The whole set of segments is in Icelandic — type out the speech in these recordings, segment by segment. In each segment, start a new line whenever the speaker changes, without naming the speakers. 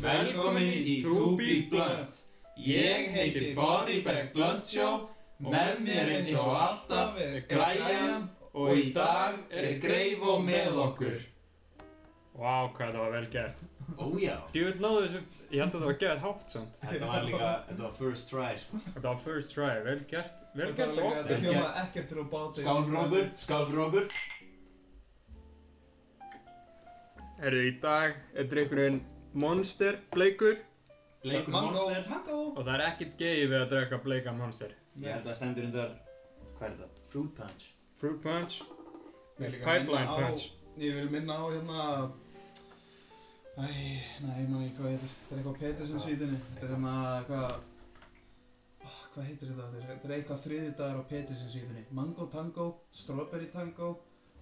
Velkomin í To Be Blunt Ég heiti Body Bag Blunt Show Með mér eins og alltaf er Græjan Og í dag er Greifó með okkur
Vá, wow, hvað þetta var vel gert.
Ójá
Djúvill náðu þessu, ég held að þetta var gett hátt samt.
Þetta var líka, þetta var first try sko
Þetta var first try, vel gert, vel
Þetta
gert
var
og
líka- Þetta
Vel
hljóma ekkert til að báta
Skál fyrir okkur, skál fyrir okkur
Herðu, í dag er drikkurinn Monster bleikur
Bleikur
Mango,
Monster
mango
og það er ekkert geið við að drekka bleikan Monster.
Ég held að það stendur undar, hvað er þetta? Fruit Punch
Fruit Punch,
Ég vil líka
Pipeline
minna á-
Punch.
Ég vil minna á hérna Æ, nei, ég man ekki hvað heitir Þetta er eitthvað Petersen svítinni Þetta er hérna eitthvað Ó, Hvað heitir þetta aftur? Þetta er eitthvað þriði dagar á Petersen svítinni Mango tango, strawberry tango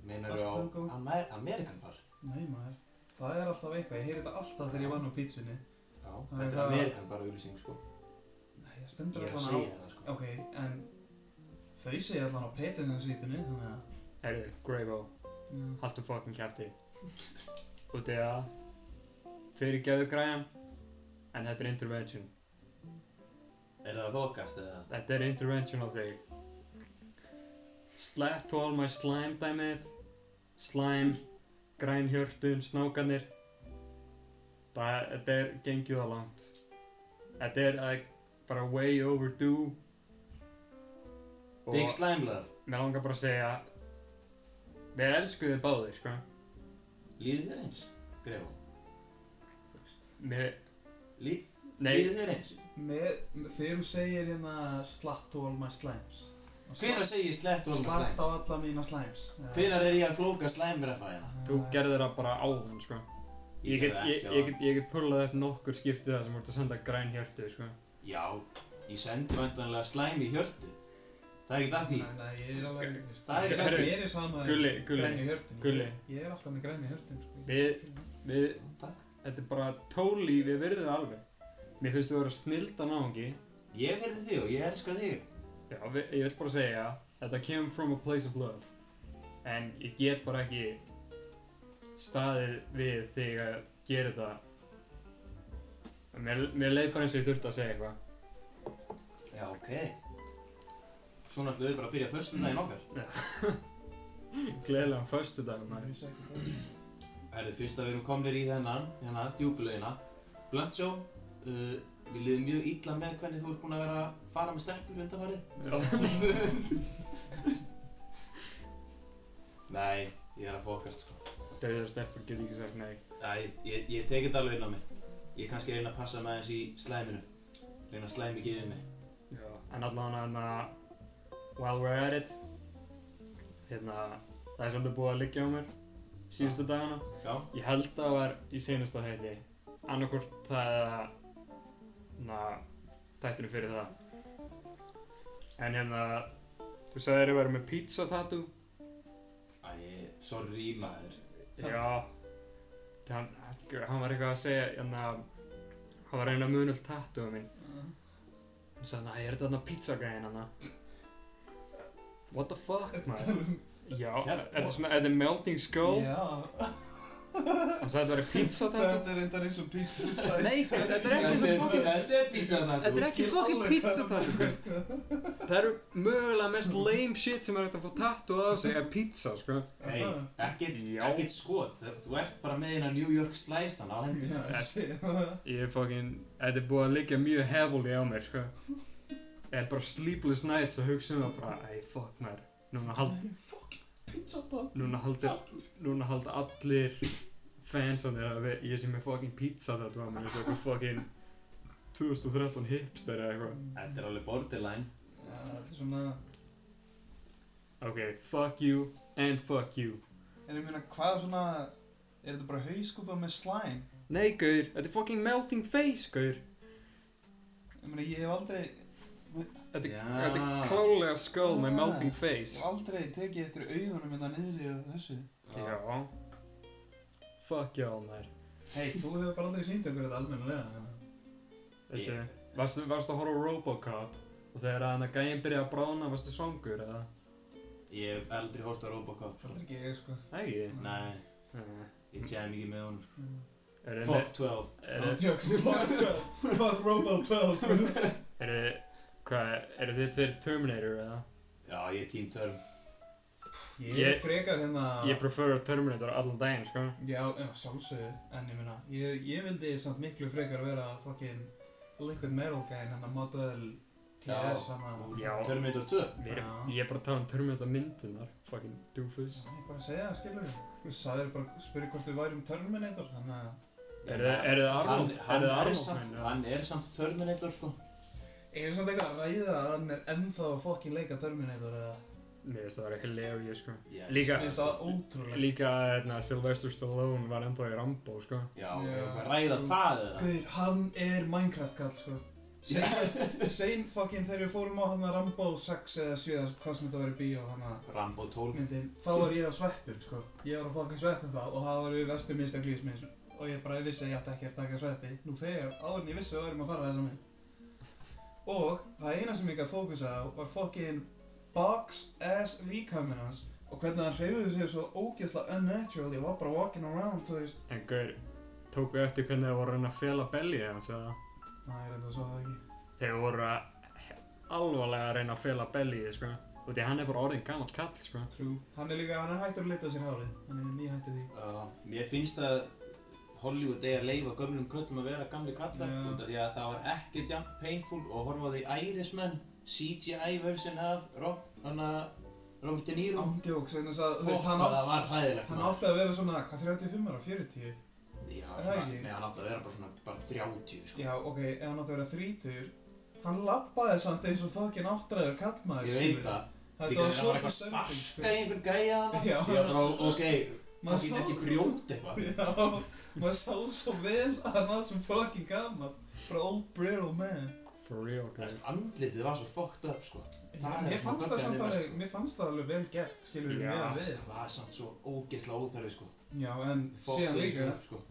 Meinar á
Allt tango.
Amer American Bar
Nei maður, það er alltaf eitthvað Ég heyri þetta alltaf þegar ég vann á pítsunni
Já,
Það er
þetta er
það-
American Bar auðlýsing sko
Nei, það
Ég
stendur
er að
alltaf á
segja það sko
Ok, en þau segja allan á Petersen-svítunni, þannig að...
herðu, Gravo,
Mm.
haltu fucking kæfti. Og þetta, fyrir geðu græjan, en þetta er intervention.
Er það að fókast eða?
Þetta er intervention á þig. Slap to all my slime, damn it. Slime, grænhjörtun, snákanir. Það, þetta er gengið á langt. Þetta er að, bara way overdue. Og
Big Slime Love
mér langar bara að segja, við elskum þið báðir, sko.
Líðið þér eins, Greifó
Mér,
Lí-
nei,
Líðið þér eins
Með, með, þegar þú segir hérna slatt to all my slimes og
Hvenær
slatt-
segi ég slett og alveg
Slatt á
slæm?
alla mína slimes
Hvenær er ég að flóka slæmir að hérna? fæða?
þú gerðir það bara áðan, sko. Ég get, ég, ég get, ég get pullað upp nokkur skiptið það sem voru að senda grænhjörtu, sko.
Já, ég sendi vantanlega slæm í hjörtu. Það er ekkert að því.
Nei, nei, ég er alveg
Það er ekki
Herru,
Mér er sama
Gulli, Gulli.
græni hjörtun
Gulli.
Ég, ég er alltaf með græni hjörtun sko.
Við- Við
Já, Takk.
Þetta er bara tóli, við verðum það alveg. Mér finnst þú að vera snilda náðungi.
Ég verði þig og ég elska þig.
Já, vi- ég vil bara segja, þetta kemur from a place of love. En ég get bara ekki staðið við þig að gera þetta. Mér, mér leið bara eins og ég þurfti að segja eitthvað.
Já, ok. Mm. Svona ætlum við bara að byrja förstum daginn okkar.
Gleðilegan föstu dag,
Ég
maður.
vissi ekki það.
Það er fyrst að við erum komnir í þennan, hérna, djúbulauðina. Blancho, uh, við liðum mjög illa með hvernig þú ert búinn að vera að fara með stelpur undanfarið. Nei, ég er að fókast sko.
Dauðar stelpur getur ekki sagt nei.
Æ, ég, ég teki þetta alveg inn á mig. Ég er kannski að reyna að passa með eins í slæminu. Reyna að slæmi gefið mig.
Já. En allan að hérna, while we're at it, hérna, það er svolítið búið að liggja á mér síðustu dagana.
Já.
Ég held að það var í senasta þætti annarkvort það eða na, tættinu fyrir það En hérna Þú sagðir að ég væri með pizza tattoo
Æ, sorry maður.
Já Hann, hann var eitthvað að segja hérna Hann var að reyna að munul tattoo minn Hann sagði að ég er þetta þarna pizza gæðin hann What the fuck maður Já,
Hérna.
þetta er svona, þetta er melting skull
Já
Hann sagði að þetta væri pizza tattoo
Þetta er reyndar eins og pizza slice
Nei, þetta er ekki
Þetta
svo
er-
fucking
Þetta er pizza
Þetta er
tattoo.
ekki
skil
fucking
alveg
pizza tattoo Það eru mögulega mest lame shit sem er hægt að fá tattoo á sig er pizza, sko
Nei,
Ah.
ekkert,
Já.
ekkert skot. Þú- Þú ert bara með hérna New York slice þann á hendina.
Já, ég sé það.
Ég er fucking, þetta er búið að liggja mjög heavily á mér, sko Ég er bara sleepless nights að hugsa um það bara Æ, fuck mér, núna hald,
Pizza top
núna haldir, núna halda allir fansanir að við- ég sé með fucking pizza tattoo á mér eins og eitthvað fucking 2013 hipster eða eitthvað
Þetta er alveg borderline.
Já, þetta er svona
Ok, fuck you and fuck you
En ég meina, hvað svona Er þetta bara hauskúpa með slime?
Nei, gaur, þetta er fucking melting face, gaur
Ég meina, ég hef aldrei
Þetta
Já.
þetta er klálega skull með
Ah.
melting
Ég
face
hef aldrei tekið eftir augunum þetta niðri og þessu.
Já Fuck y'all maður
Hei, þú hefur bara aldrei sínt okkur þetta almennilega.
Þessi,
Ég-
varstu, varstu að horfa á Robocop og þegar að hann að gæin byrja að brána varstu songur eða?
Ég hef aldrei hórt á Robocop.
Það er ekki ég, sko.
Nei,
Nei,
Nei.
ég tjæði mikið með honum. sko.
Er þið
Fuck 12
Er
Án djóks, Fuck 12 Fuck Robo 12 dude.
er þið, hvað, er þið tveir Terminator eða?
Já, ég er Team 12
Ég er
Ég-
frekar hérna
Ég prefer Terminator allan daginn, sko.
Já, já, sjálfsögðu, en ég meina, ég, ég vildi samt miklu frekar vera fucking liquid metal gæn, hérna model TS,
Já.
hann að...
Já.
Terminator 2
Mér,
Já.
ég er bara að tala um Terminator myndirnar, fucking doofus.
Ég er bara að segja það, skilur við. Þú sagðir bara, spyrir hvort við værum Terminator, þannig að...
Er þið- er þið Arnold-
Hann- hann
er þið
er
Arnold
samt-
menn, eða?
Hann er samt Terminator sko
Ég er samt eitthvað að ræða að hann er ennþá að fucking leika Terminator eða...
Mér finnst það að vera hilarious, sko.
Ég-
Líka-
Mér finnst það ótrúlegt.
Líka, hérna, Sylvester Stallone var ennþá í Rambo, sko.
Já,
Já.
ég er að ræða það eða
Guður, hann er Minecraft-kall, sko. Seinast- Sein fucking þegar við fórum á hann að Rambo 6 eða 7, eða hvað sem þetta var í bíó, hann að...
Rambo 12
myndin, þá var ég á sveppum sko. Ég var á fokkin sveppum þá og það var við vestum minnsta glísmins og ég bara vissi að ég átti ekki að taka sveppi. Nú þegar, áður en ég vissi að við varum að fara þessa mynd. Og það eina sem ég gætt fókusa á var fokkin box ass líkaminn hans og hvernig hann hreyfði sig svo ógeðslega unnatural, ég var bara walking around, þú veist.
En gaur, tóku eftir hvernig það voru að reyna að fela belgið hans eða?
Næ, ég reynda að svo það ekki.
Þeir voru að he- alvarlega að reyna að fela belgið, sko. Og því hann er bara orðin gammal kall, sko.
True. Hann er líka, hann er hættur að lita sér hárið, hann er nýhættið því.
Já, Mér finnst að Hollywood eigi að leifa gömlum köllum að vera gamli kallar
Já.
út af því að það var ekkert jafn painful og horfaði í Irishman CGI version af Rob, hana, Robert De Niro
Ándjóks, vegna þess að, þú
Fyrst
veist, hann,
hvað
á-
það var hræðilegt
hann
maður.
átti að vera svona, hvað, 35 ára, 40? Er
Já,
það
svona,
ekki?
nei, hann átti að vera bara svona bara 30 sko.
Já, ok, ef hann átti að vera þrítur Hann labbaði samt eins og fokkin áttræður kallmaður
Ég veit það
Þetta
Líka
var sko. svo
þegar var
til
eitthvað
söndum
sparka í einhvern gæja hann
Já.
Ég bara, ok, það
sá-
finn ekki brjót eitthvað
Já, maður sá svo vel að hann var sem fokkin gammal Bara old brittle man
For real, gaur.
Þess andlitið var svo fucked up sko Það er
Mér
svona
fannst það
böggaði
samt
mest,
alveg,
sko.
mér fannst það alveg vel gert, skilur við
Já.
meðan við
Það var samt svo ógeðslega óþarfi sko
Já, en síðan
Fokkaði
líka
þessu upp, sko.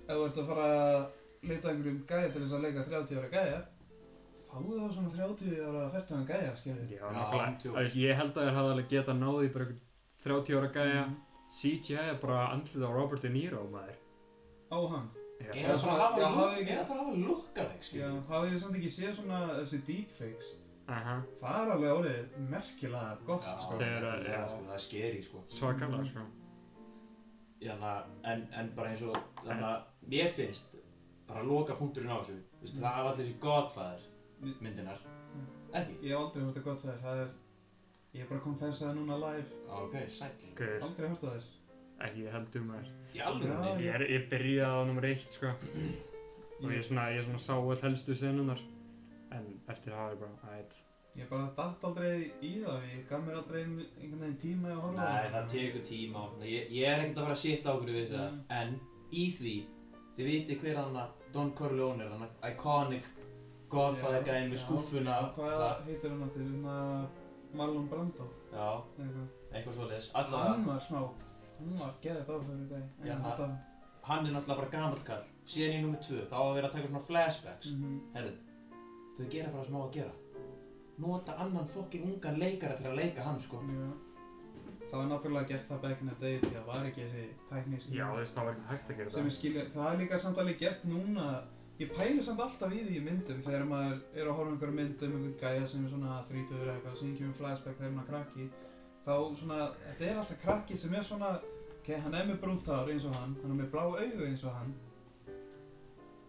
Ef þú ert að fara að leita að einhverjum gæja til þess að leika 30 ára gæja Fáðu þá svona 30 ára 40 ára gæja, skilur við
Já,
Já,
nefnilega.
djóks.
Þú veist, Ég held að þeir hafði alveg getað náði bara einhvern 30 ára gæja. CGI er bara andlið á Robert De Niro, maður.
Á hann
Já.
Eða bara hafa
Já,
look-
hafði ekki-
eða bara hafa lukkaleg
Já,
skilur
hafði ég samt ekki séð svona þessi deepfakes
Aha.
Það er alveg orðið merkilega gott,
Já,
sko.
Þegar að-
já,
já.
sko, það er skeri sko
Svakalega, sko.
Þannig að- en, en bara eins og þannig að mér finnst bara loka punkturinn á þessu
Mm.
Vistu, það hafa allir þessi Godfather myndinar ekki
Ég hef aldrei hort að gott þær, það er... Ég er bara kom þess að núna live,
ok, sæll
Gaur,
aldrei hort að þær.
ekki heldur maður.
í alveg
Ég, er, ég byrjaði á nummer eitt, sko. Og ég
Ég,
svona, ég svona sá all helstu senunar. En eftir það var ég bara, ætt.
ég bara datt aldrei í það, ég gaf mér aldrei ein, einhvern veginn tíma í að horfa á
nei, það tekur tíma og svona ég, ég er ekkert að fara að sitja á okkur við það
Mm.
en í því þið viti hver hann að Don Corleone er hann að iconic Godfather
Já,
gæði með
já.
skúffuna
Hvað
það-
heitir hann áttir, hérna Marlon Brando,
já,
eða eitthvað.
eitthvað svoleiðis allavega
Hann var smá, hann var geðið á fyrir dag.
Já,
en
það-
alltaf-
hann er náttúrulega bara gamall kall síðan í nummið 2 þá á að vera að taka svona flashbacks
Mhm.
herðu, þau gera bara sem á að gera nota annan fokkin ungan leikara til að leika hann sko
Já. Það var náttúrulega gert það back in the day því það var ekki þessi tekníski.
Já, þú veist, það var ekkert hægt að gera
sem ég
það.
skilja, það er líka samt alveg gert núna ég pæli samt alltaf í því í myndum þegar maður er að horfa á einhverja mynd um einhvern gæja sem er svona 30 eða eitthvað sem kemur flashback þegar hann er krakki þá svona, þetta er alltaf krakki sem er svona ok, hann er með brúnt hár eins og hann hann er með blá augu eins og hann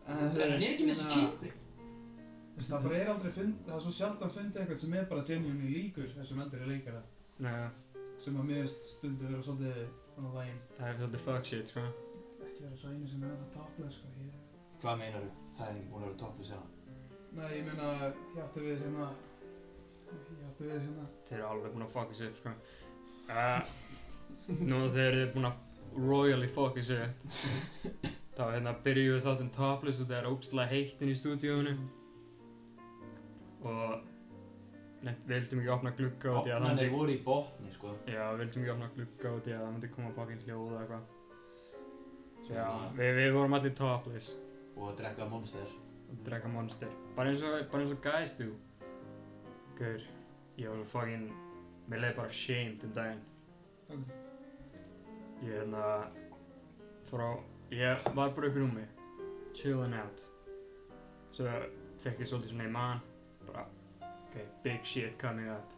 en
en
þú
hann er
veist,
ekki með þessi
svona-
kynning
þú veist, það bara er aldrei fund, það er svo sjaldan fundið eitthvað sem er bara genuinely líkur þessum eldri leikara
Nei,
sem að mér finnst stundu vera svolítið svona lægin
það er svolítið fuck shit, sko.
ekki vera svo einu sem er að topla sko, ég
hvað meinaru? það er ekki búin að vera toppið sem hann
Nei, ég meina, ég átti við hérna Ég átti við hérna
Þeir eru alveg búin að fucka sig upp, sko. Uh, nú þegar þeir eru búin að royally fucka sig upp. þá hérna byrjuðum við þáttum topless og það er ógstlega heittin í stúdíónu. Og nefnt, við vildum ekki opna glugga út í að það
opnarnir
myndi...
voru í botni sko
Já, við vildum ekki opna glugga út í að það myndi koma fucking hljóð eða eitthvað.
Svo
Já,
hérna-
við, við vorum allir topless
og að drekka monster
og drekka monster. Bara eins og, bara eins og guys do. Gaur, ég var svo fucking... Mér leiði bara shamed um daginn.
Ok.
Ég hérna fór á Ég var bara upp í rúmi, chillin out. Svo fekk ég svolítið svona í mann, bara, ok, big shit coming up.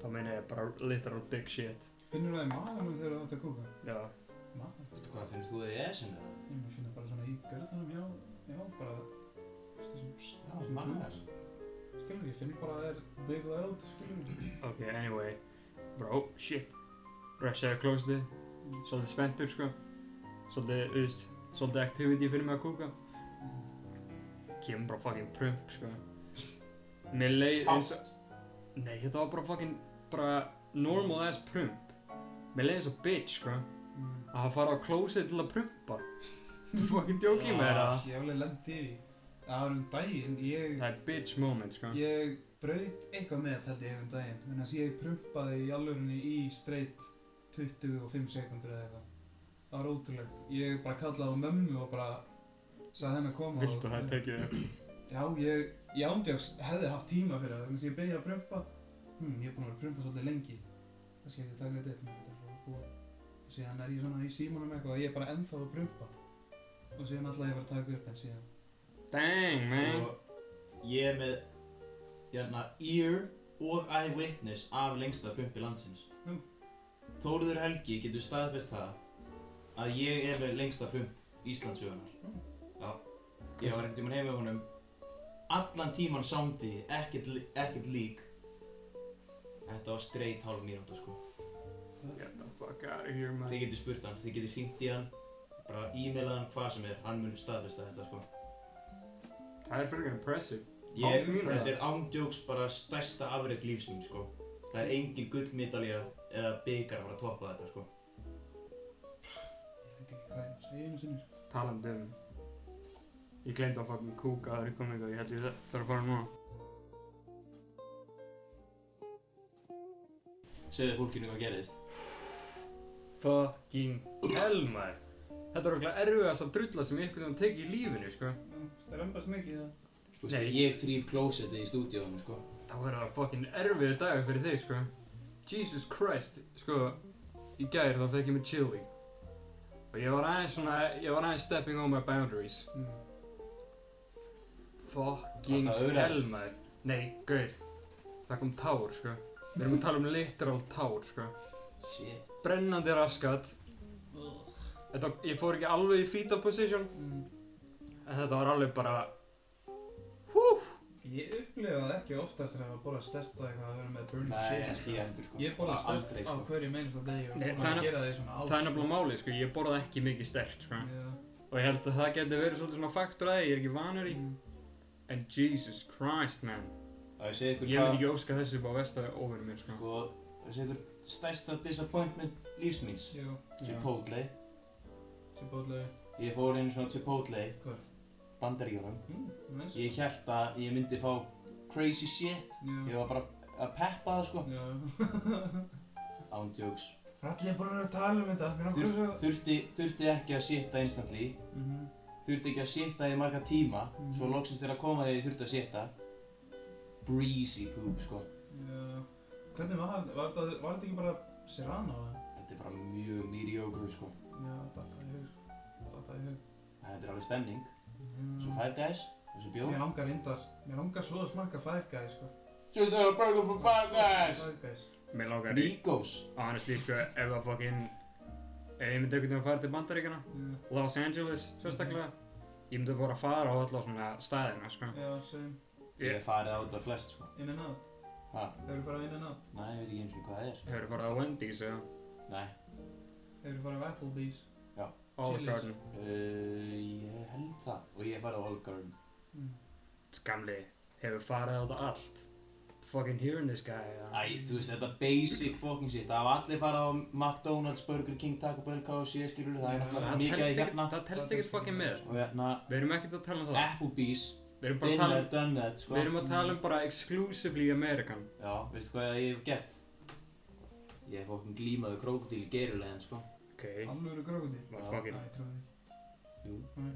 Þá meina ég bara literal big shit,
Finnur það í maganum þegar þú átt að kúka?
já.
Magan?
Veitu hvað, finnst þú E þig í esinu það?
Ég mér finna bara svona í görðunum, já, já, bara, þú veist þessum,
Já, magar.
skilur, ég finn bara að það er big loud, skilur.
Ok, anyway, bara, oh, shit. Rushaði að klósið, svolítið spenntur, sko. Svolítið, þú veist, svolítið activity fyrir mig að kúka. Kemur bara fucking prump, sko. Mér leið eins og... Nei, þetta var bara fucking, bara normal ass prump. Mér leið eins og bitch, sko.
Mm.
að hann fara á klósið til að prumpa Þú fucking djókið með það
Ah, Ég hef alveg lendið í því. Það var um daginn, ég,
Það er bitch moment sko
ég braut eitthvað með þetta held ég um daginn. Þannig að ég prumpaði í alvörunni í straight 25 sekundur eða eitthvað. Það var ótrúlegt. Ég bara kallaði á mömmu og bara sagði henni að koma. og-
Viltu að það tekið þér?
Já, ég, ég ándi að hefði haft tíma fyrir það, þannig að ég byrjaði að prumpa hmm, ég er búinn að vera að prumpa svolítið lengi það skemmt ég taka þetta upp, menn þetta er bara búið og síðan er ég svona í símanum eitthvað og ég er bara ennþá að prumpa og síðan alltaf ég var að taka upp en síðan
Dang man
Sko, ég er með, hérna, ear og eyewitness af lengsta prumpi landsins.
Nú.
Þóruður Helgi getur staðfest það að ég er með lengsta prump Íslandsjöfunar.
Nú.
Já. Ég var einhvern tímann heima hjá honum. Allan tímann sándi, ég, ekkert, li- ekkert lík. Þetta var straight hálf mínúta sko.
Get the fuck out of here man
Þið getur spurt hann, þið getur hringt í hann, bara e-mailað hann hvað sem er, hann mun staðfesta þetta sko.
Það er freaking impressive
Ég,
Án mín, eða?
þetta er ándjóks bara stærsta afreg lífsmín, sko. Það er engin gullmedalja eða byggar að fara að toppa þetta, sko.
ég veit ekki hvað ég að segja einu sinni sko.
Talandi um Ég glemd að fucking kúka þar í komingu Ég held ég þarf að fara núna
Segðu fólkinu hvað gerðist.
Fucking hell man Þetta er okkur erfiðast að drulla sem ég einhvern veginn tekið í lífinu sko
Já, það er ömbast mikið það
Sko,
Nei.
Nei. ég þrýf klósetti í stúdíónu, sko.
Þá er það fucking erfiðu dagar fyrir þig sko Jesus Christ Sko Í gær þá fekk ég mér chili Og ég var aðeins svona Ég var aðeins stepping on my boundaries
mm.
Fucking
Varstu að ögra þér?
hell maður Nei, gaur Það kom tár sko Við erum að tala um literal tár sko
Shit.
Brennandi raskat Þetta, ég fór ekki alveg í fetal position
Mm.
En þetta var alveg bara
ég upplifa það ekki oftast þegar ég borða sterta eitthvað að vera með burning
Nei,
shit
ekki
sko.
ég heldur, Mm, sko.
ég borða
Bara aldrei,
sterta á
sko.
hverju meinast að degi og
Nei,
búinn
það er
að
nef-
gera það í svona ár
Það er nefnilega
sko.
máli sko Ég borða ekki mikið stert sko
Já.
Og ég held að það geti verið svolítið svona faktur að því, Ég er ekki vanur í
Mm.
En Jesus Christ man
Á ég segi ykkur
Ég veit
hvað,
ekki óska þessu upp á vesta ofinu mér sko
sko, á ég segi ykkur stærsta disappointment lífsmíns.
já,
Chipotle.
sem bóðlega
Ég fór einu svona Chipotle.
Hvar?
Bandaríunum.
mm, nice.
Ég held að ég myndi fá crazy shit. Ég var bara að peppa það, sko.
Já.
Ándjóks.
Ralli er búin að tala um þetta. Við erum
Þur,
búin að...
þurfti, þurfti ekki að shitta instantly
Mhm.
þurfti ekki að sitta í marga tíma
Mhm.
svo loksins þegar að koma þegar ég þurfti að sitta breezy poop sko
Já. Hvernig var þetta? Var þetta var þetta ekki bara Serrano? eða?
þetta er bara mjög mediocre sko
Já, datta í hug. Datta í hug.
en þetta er alveg stemning
Já.
svo Five Guys og svo bjór
Mér hangar reyndar. Mér hangar svo að smakka Five Guys, sko.
just had a burger from Five Guys
Five Guys.
Mér lágar í
Migos
Honestly, sko, ef það fucking Ef ég myndi einhvern veginn að fara til bandaríkjana
Já.
Los Angeles, sérstaklega Ég myndi bara að fara á alla svona staðina, sko
Já, same.
ég hef farið á þetta flest sko
In and out.
ha
Hefur þú farið á In and out?
næ ég veit ekki eins og hvað það er
Hefur farið á Wendy's eða
næ
Hefur þú farið á Applebee's?
Olive
Chili's.
Garden
uh, ég held það og ég hef farið á Olive Garden
Mm.
Skamli, hefur farið á þetta allt Fucking hearing this guy, eða
Æ, þú veist, þetta basic fucking shit, það hafa allir farið á McDonalds, Burger King, Taco Bell, KFC, skilur það
Nei,
er náttúrulega
Það
mikið að
telst
hérna
ekkert- það telst ekkert fucking með
og hérna,
Við erum ekkert að tala um það
Applebee's,
Við erum bara að tala
Dinner,
um
Done That, sko
Við erum að tala um bara exclusively American
Já, veistu hvað ég hef gert? Ég hef fucking glímaði krokodil í gerulegin, sko
Ok
Alvöru gróði.
Var
Já.
Æ,
fucking
ég trúi því.
Jú
Nei.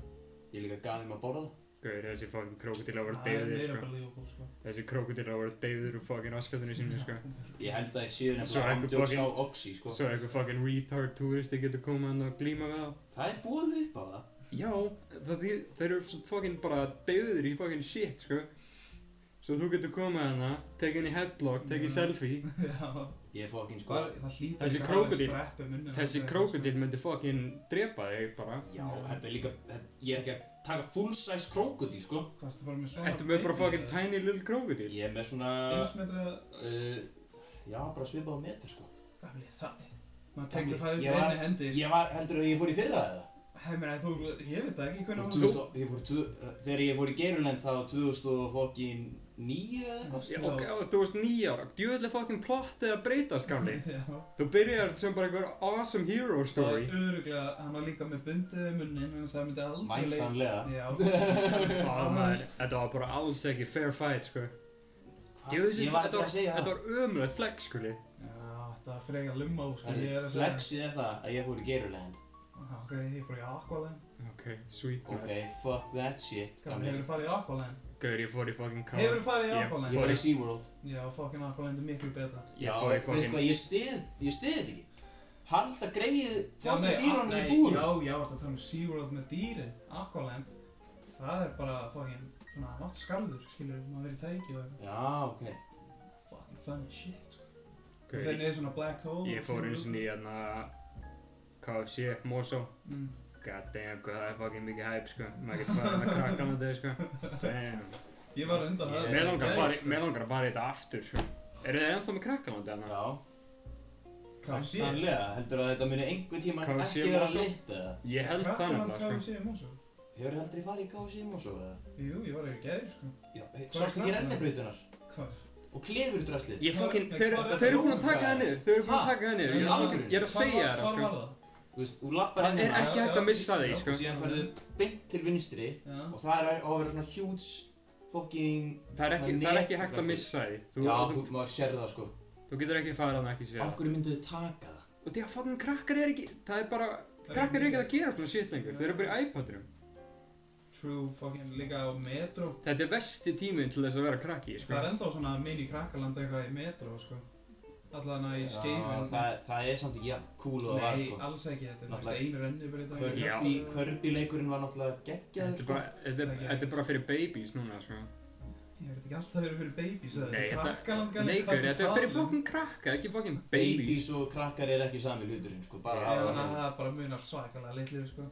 Ég líka gaf þeim að borða
Gauður, þessi fucking krokodilla voru
Það er
deyður,
meira
sko.
bara Liverpool sko
Þessi krokodilla voru deyður úr fucking askatunni sínu, sko.
Ég held að ég séu
Svo
nefnilega
er einhver
ándjóks á
fucking-
Oxy, sko.
Svo eitthvað fucking retard túristi getur komið hann og glíma við það.
Það er búið upp á það.
Já, það því, þeir eru svo fucking bara deyður í fucking shit, sko. Svo þú getur komið hann, tekið henni headlock, tekið
Mm.
selfie.
Já,
Ég er fokkin, sko.
hvað, það hlýtur
Þessi
að
krókódíll-
streppu munnum
Þessi
sko.
krokodill myndi fucking drepa þig bara.
Já, þetta er líka, þetta- ég er ekki að taka full size krokodil, sko.
Hvað erstu bara með svona
Ertu með bara
baby
fucking
eða?
tiny little krokodil?
Ég er með svona,
Heimsmetra
uh, já, bara svipað á metur, sko.
Gamli það Maður
Gamli,
tekur það upp
ég
með
var-
einu hendi
Ég var, heldur að ég fór í fyrra eða?
Hei mér, þú, ég veit það ekki
Fór
hvernig
2000 og- Ég fór, tvö- uh, þegar ég fór í Geirulend þá 2009 eða eitthvað.
Já, ok, og þú varst nýja ára. Djöðlega fucking plottið að breytast, gamli. Þú byrjar sem bara einhver awesome hero story.
Það er öruglega, hann var líka með bundið um munnin en það myndi aldrei
Væntanlega.
Já
Á, maður, Þetta var bara alls ekki fair fight, sko.
Hva?
Djú, þessi-
Ég var ekki
þetta
að segja
Þetta
það.
var ömulegt flex, sko. skuli.
Já, þetta er frekar lumma úr sko, ég er
Herri,
að segja
Flexið er það að ég fór í Geirulend.
Já, Ok, ég fór í Aqualand
Ok, sweet.
Ok, fuck that shit,
Gamli,
gamli.
hefurðu farið í Aqualand?
Gauður, ég fór í fucking car.
Hefurðu farið í
Ég-
Ég
Aqualand?
fór í SeaWorld.
Já, fucking Aqualand er miklu betra
Ég
Já,
fór í
veistu
fucking...
hvað, ég stið, ég stið þetta ekki. Halda greið fokkin
nei,
dýrunum
nei,
í búru.
Já, já, þetta tala um SeaWorld með dýrin, Aqualand Það er bara fucking svona vatnskarður, skilur, maður verið í tæki og eitthvað
Já, ok.
Fucking fun as shit, sko Og þeir
Gauður,
niður svona black hole
ég fór eins og nýja hérna... KFC, Mosó.
mm.
God damn, hvað það er fucking mikið hype, sko. Maður getur farið með krakkan á þetta, sko. Damn.
Ég var undan
Ég-
það
Mér langar að
Nei,
fara,
sko.
mér langar að fara í þetta aftur, sko. Eru þið ennþá með krakkalandi hérna?
Já,
KFC
kannanlega. Heldur að þetta muni einhver tíma
KFC
ekki vera
Mosó?
lit eða?
Ég held það
Krakkaland
nefnilega, sko.
KFC í Mosó
Hefur aldrei farið í KFC og svo eða?
um Jú, ég var ekki gæðir, sko
Já,
Hvað
hey,
er
sást ekki
Krakkaland?
rennibrautunar
Hvað?
og klefur draslið.
Ég fucking,
Nei,
þeir,
hvað er
þeir eru búin að
þetta?
taka það niður, þeir eru búin að
Ha?
taka það niður.
Nei,
Ég-
alvöru.
Ég er að segja þér,
Hvað
sko.
var það?
Þú veist, þú lappar
Það
henni
er ekki hægt að missa þig, sko.
og síðan færðu beint til vinstri
Já
og það er á að vera svona huge fucking...
Það er ekki,
Svona
það er ekki
net-
hægt að missa því. Þú,
Já,
þú,
þú, maður sér það sko.
þú getur ekki farað hann ekki
Af
sér.
hverju myndu þið taka það?
Og því að fucking krakkar er ekki, það er bara,
er
krakkar er ekki
mikið.
að gera svona shit lengur. Þeir eru bara í iPadinum.
True fucking líka á Metro
Þetta er vesti tíminn til þess að vera krakki,
Það
sko.
er ennþá svona mini krakkaland eitthvað í Metro, sko Allan að í
Já,
skeifin
það, það er samt ekki jafn cool og það var
Nei,
sko.
alls ekki, þetta er
Náttúrulega-
náttúrulega einu renni bara í dag.
Já.
Körbi, körbileikurinn var náttúrulega geggjaður
Þetta er
sko.
bara, þetta er- þetta er bara fyrir babies núna, sko.
Ég veit ekki alltaf verið fyrir babies eða þetta
Nei,
er
þetta-
krakkaland gæli.
Nei, gaur, þetta er fyrir fucking krakka, ekki fucking babies.
Babies og krakkar er ekki sami hluturinn sko, bara
Ég
Já,
aðra
meina
hlutur.
það bara munar svakalega litlu, sko.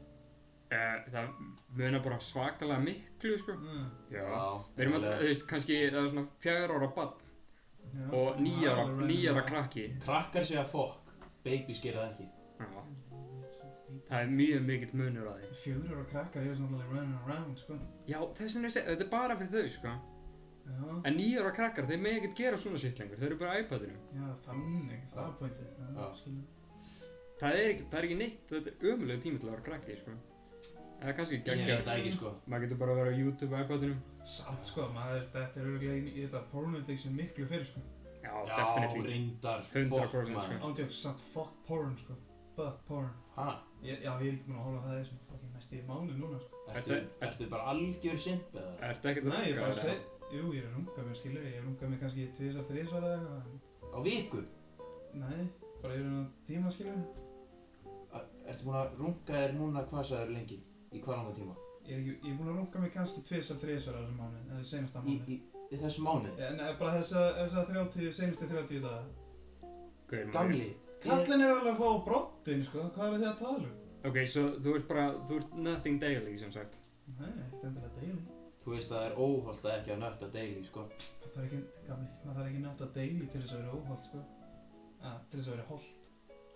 Eh, Það munar bara svakalega miklu, sko.
Mm,
Já. Við
Já,
erum að,
nálega.
þú veist, kannski, það er svona fjagur ára barn
já.
og nýjara,
Alveg
nýjara
random.
krakki.
Krakkar segja fokk, babies gera það ekki.
Já. Það er mjög mikill munur á því.
Fjögur ára krakkar, ég veist náttúrulega running around, sko.
Já, þess vegna er ég að segja, þetta er bara fyrir þau, sko.
Já,
En nýjar og krakkar, þeir megi ekkert gera svona shit lengur, þeir eru bara á iPadunum.
já, þannig, það er pointið. Já,
Já.
skilur.
Það er ekki, það er ekki neitt, þetta er ömulega tími til að vera krakki, sko. Eða kannski
Ég
geggjað.
veit það ekki sko.
Maður getur bara að vera á YouTube á iPadunum.
Samt, sko, maður, þetta er öruglega einu í þetta porn addiction miklu fyrir, sko.
Já,
Já,
definitely.
reyndar,
100%
fokk maður.
sko.
Ándjóks, samt fuck porn, sko. Fuck porn.
Ha,
Ég, já, ég er ekki búinn að horfa á það í þessum fucking næstu í mánu núna, sko.
ertu,
Ertu-
ertu bara algjör simp eða?
Ertu ekkert að
Nei, ég er
runga
bara að
þér, eða?
segja, jú, ég er rungað mér, skilur, ég er rungað mér kannski tvisar, þrísvar eða eitthvað, en
Á viku?
nei, bara yfir hennar tíma, skilur,
Er- Ertu búin að runga þér núna hvað sagður lengi? Í hvað langa tíma?
ég er ekki, ég er búinn að rungað mér kannski tvisar, þrísvar á þessum mánu, eða senasta
Í,
mánu.
í, í þessu mánuði?
En eh, bara þessa, þessa 30, senastu 30 daga.
Gaur, maður-
Gamli, ég,
Kallin er alveg að fá á broddinn, sko, hvað er þið að tala um?
Ok, svo þú ert bara, þú ert nothing daily, sem sagt.
Nei, nei, ekkert endilega daily.
þú veist að það er óholt að ekki að nötta daily sko.
Það þarf ekki, gamli, maður þarf ekki nátt að daily til þess að vera óholt, sko. Ah, til þess að vera holt,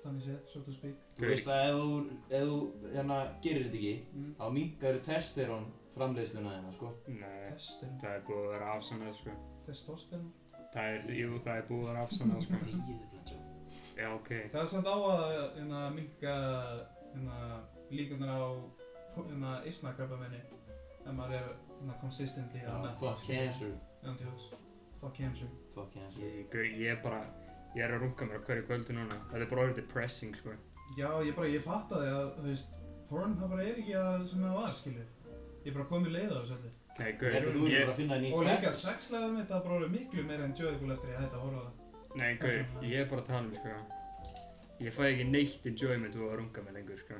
þannig séð, so to speak.
Þú veist að ef þú, ef þú hérna, gerir þetta ekki,
Mm.
þá mingar testosterón framleiðsluna þeirna, sko.
Nei,
Testin,
það er búið að vera afsannað, sko.
testosteron.
Það er, jú, það er búið að vera afsannað, sko.
Þegiðu, Blancho.
Já, ok.
Það er samt á að hérna, minka hérna, líkunar á hérna, isnakrabamenni ef maður er hérna, consistently
Já, fuck cancer.
Andjóks. Fuck cancer.
Fuck cancer.
Ég, gaur, ég er bara, ég er að runga mér á hverju kvöldu núna. Það er bara orðið depressing, sko.
Já, ég bara, ég fattaði að, þú veist, porn það bara er ekki að sem það var, skilur. Ég bara kom í leið á þessu öllu.
Nei,
Ég held að þú eru
gauður,
bara
ég,
að finna nýtt
Og
track.
líka sexlega mitt að bróður miklu meira enjoyable eftir ég hætti að horfa á það.
nei, gauður, ég er bara að tala um, sko. Ég fæ ekki neitt enjoyment úr að runga mig lengur, sko.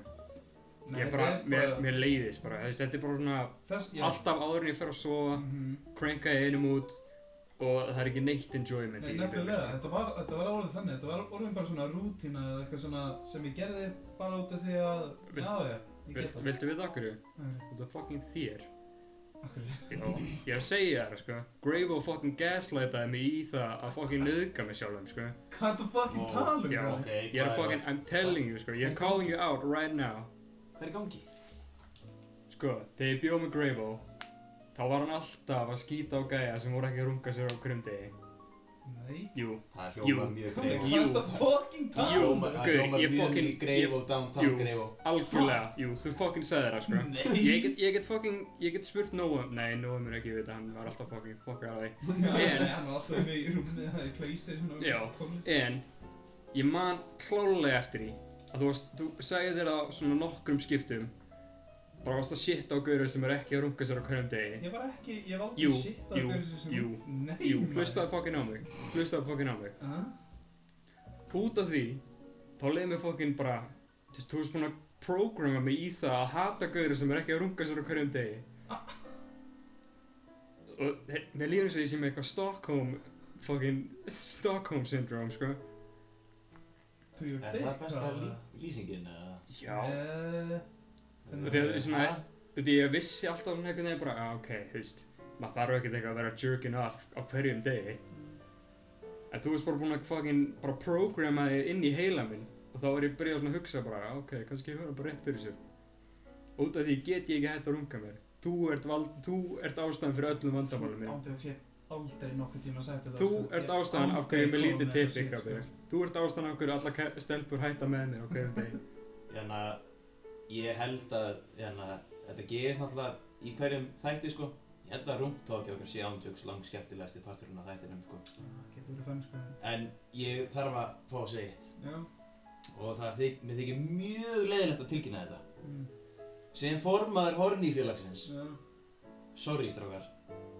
Nei,
Ég
þetta
bara,
er
mér, mér leiðist bara, þú veist, þetta er bara svona,
Þess, já.
alltaf áður en ég fer að sofa,
Mhm.
cranka í einum út og það er ekki neitt enjoyment
Nei,
í
nefnilega, þetta var, þetta var orðið þannig, þetta var orðið bara svona rútína eða eitthvað svona sem ég gerði bara út af því að,
Vilt-
já, já, ég get
Vilt,
það.
viltu við það okkur?
Nei,
Þetta er fucking þér.
akkur,
Já, ég er að segja þér, sko. Gravo fucking gaslightaði mig í það að fucking nauðga mig sjálfum, sko.
hvað ertu fucking
Ó,
tala um
já.
það?
Ok,
Ég er
hvað
að fucking, I'm telling you, sko. Ég er calling you out right now.
Hvað er í gangi?
Sko, þegar ég bjóð með Gravo, þá var hann alltaf að skýta á gæja sem voru ekki að runga sér á hverjum degi.
Nei,
Jú,
Það hljómar
Jú.
mjög
Tommy,
greif.
hvað ertu fucking tala
Jú,
um?
Það
Gaur,
hljómar
ég
mjög
fucking-
mjög greif og downtown
Jú.
greif og...
algjörlega. Jú, þú fucking sagði það, sko.
Nei.
Ég get, ég get fucking, ég get spurt Noam. Nei, Noam er ekki við þetta, hann var alltaf fucking fucking að því.
Já,
En-
nei, hann var alltaf með í rúmið, það er Playstation og
Já.
tónlist.
En, ég man klálega eftir því að þú varst, þú sagði þér á svona nokkrum skiptum bara varst að shit á gauður sem er ekki að runga sér á hverjum degi.
Ég var ekki, ég var
Jú,
aldrei sitt að
jú,
hverju sem
jú,
Nei,
Jú,
maður.
hlustaði fucking á mig. Hlustaði fucking á mig.
Ha?
út af því þá leiði mér fokkin bara þú veist, þú veist búin að prógrama mig í það að hata gauður sem er ekki að runga sér á hverjum degi og he- mér líður þess að ég sé með eitthvað Stockholm fokkin Stockholm syndrome sko
To your
Er
dick,
það besta
hvað?
lí- lýsingin eða?
já
Eh,
og því að
Eh,
svona
ha?
þú veist, ég vissi alltaf svona einhvern veginn bara já ok, þú veist maður þarf ekkert eitthvað að vera jerkin off á hverjum degi en þú veist bara búin að fokkin bara prógrama þig inn í heila minn og þá er ég byrjað svona að hugsa bara já, ok, kannski ég höfum bara rétt fyrir sér og út af því get ég ekki hægt að runga mér þú ert, vald, þú ert ástæðan fyrir öllum vandamálum mér
Ándjóks, ég hef aldrei nokkuð tíma sagt þetta.
þú
sko. Ég
ert
hef
ástæðan af hverju
aldrei
mér
komið
lítið
með þetta
tepik
shit,
af
sko.
mér þú ert ástæðan af hverju alla ke- stelpur hætta með mér á hverjum degi
Þannig að Hérna, ég held að hérna, þetta gerist náttúrulega í hverjum þætti sko Ég held að rúmtóki okkar sé ándjöks langt skemmtilegasti parturinn af þættinum sko
Það Getur verið fenn, sko.
En ég þarf að fá að segja eitt
Já.
og það þyk, mér þykir mjög leiðilegt að tilkynna þetta
Mm.
Sem formaður horni félagsins
Já.
Sorry strákar,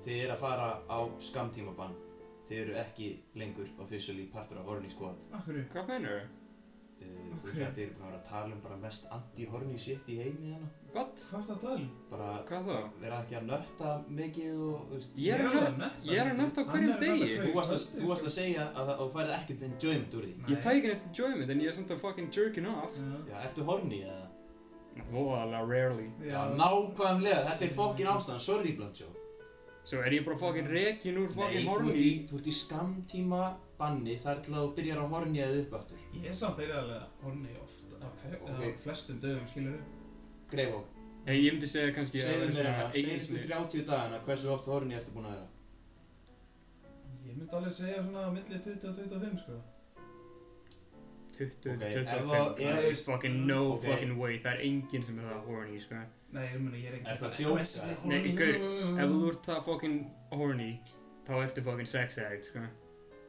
þið eru að fara á skamtímabann Þið eru ekki lengur officially partur af horni skot
Akkur,
hvað mennur
uh, okay.
Ok.
Þú veist að þið eru búin að vera að tala um bara mest anti-horni shit í heimi hérna
What?
hvað er það að tala? um?
Bara
Hvað þá?
vera ekki að nötta mikið og, þú veist,
Ég er að nötta- ég er að nötta á
Hann
hverjum
er að nötta
degi.
á
Þú
hverjum
varst að,
kvöldi,
þú varst að segja að það, og færið ekkert enjoyment úr því.
sko.
Ég fæ ekki neitt enjoyment en ég er samt að fucking jerkin off
Já.
Já, ertu horny eða?
Voðalega rarely
Já, nákvæmlega, þetta er fokkin ástæðan, sorry Blancho.
Svo er ég bara fucking rekin úr
Nei,
fucking
þú
horni
ert, í, þú ert í skamtíma banni þar til að þú byrjar að horny eða upp aftur.
Ég er samt þeirra alveg horni oft af hver-
Ok.
af flestum dögum, skilur við.
Greifó,
Nei, ég myndi segja kannski
segðu mér hana,
einustu
seinustu 30 dagana hversu oft horny ertu búin að vera?
Ég myndi alveg segja svona á milli 20 og 25, sko.
20,
Ok, ef
25
það
There
er-
is fucking no
Ok.
fucking way Það er enginn sem er það horny, sko
Nei, ég meina, ég er ekkert
Ertu að
eitthvað
djóka?
aggressively
Nei,
horny.
gaur, Ef þú ert það fucking horny Þá ertu fucking sex addict, sko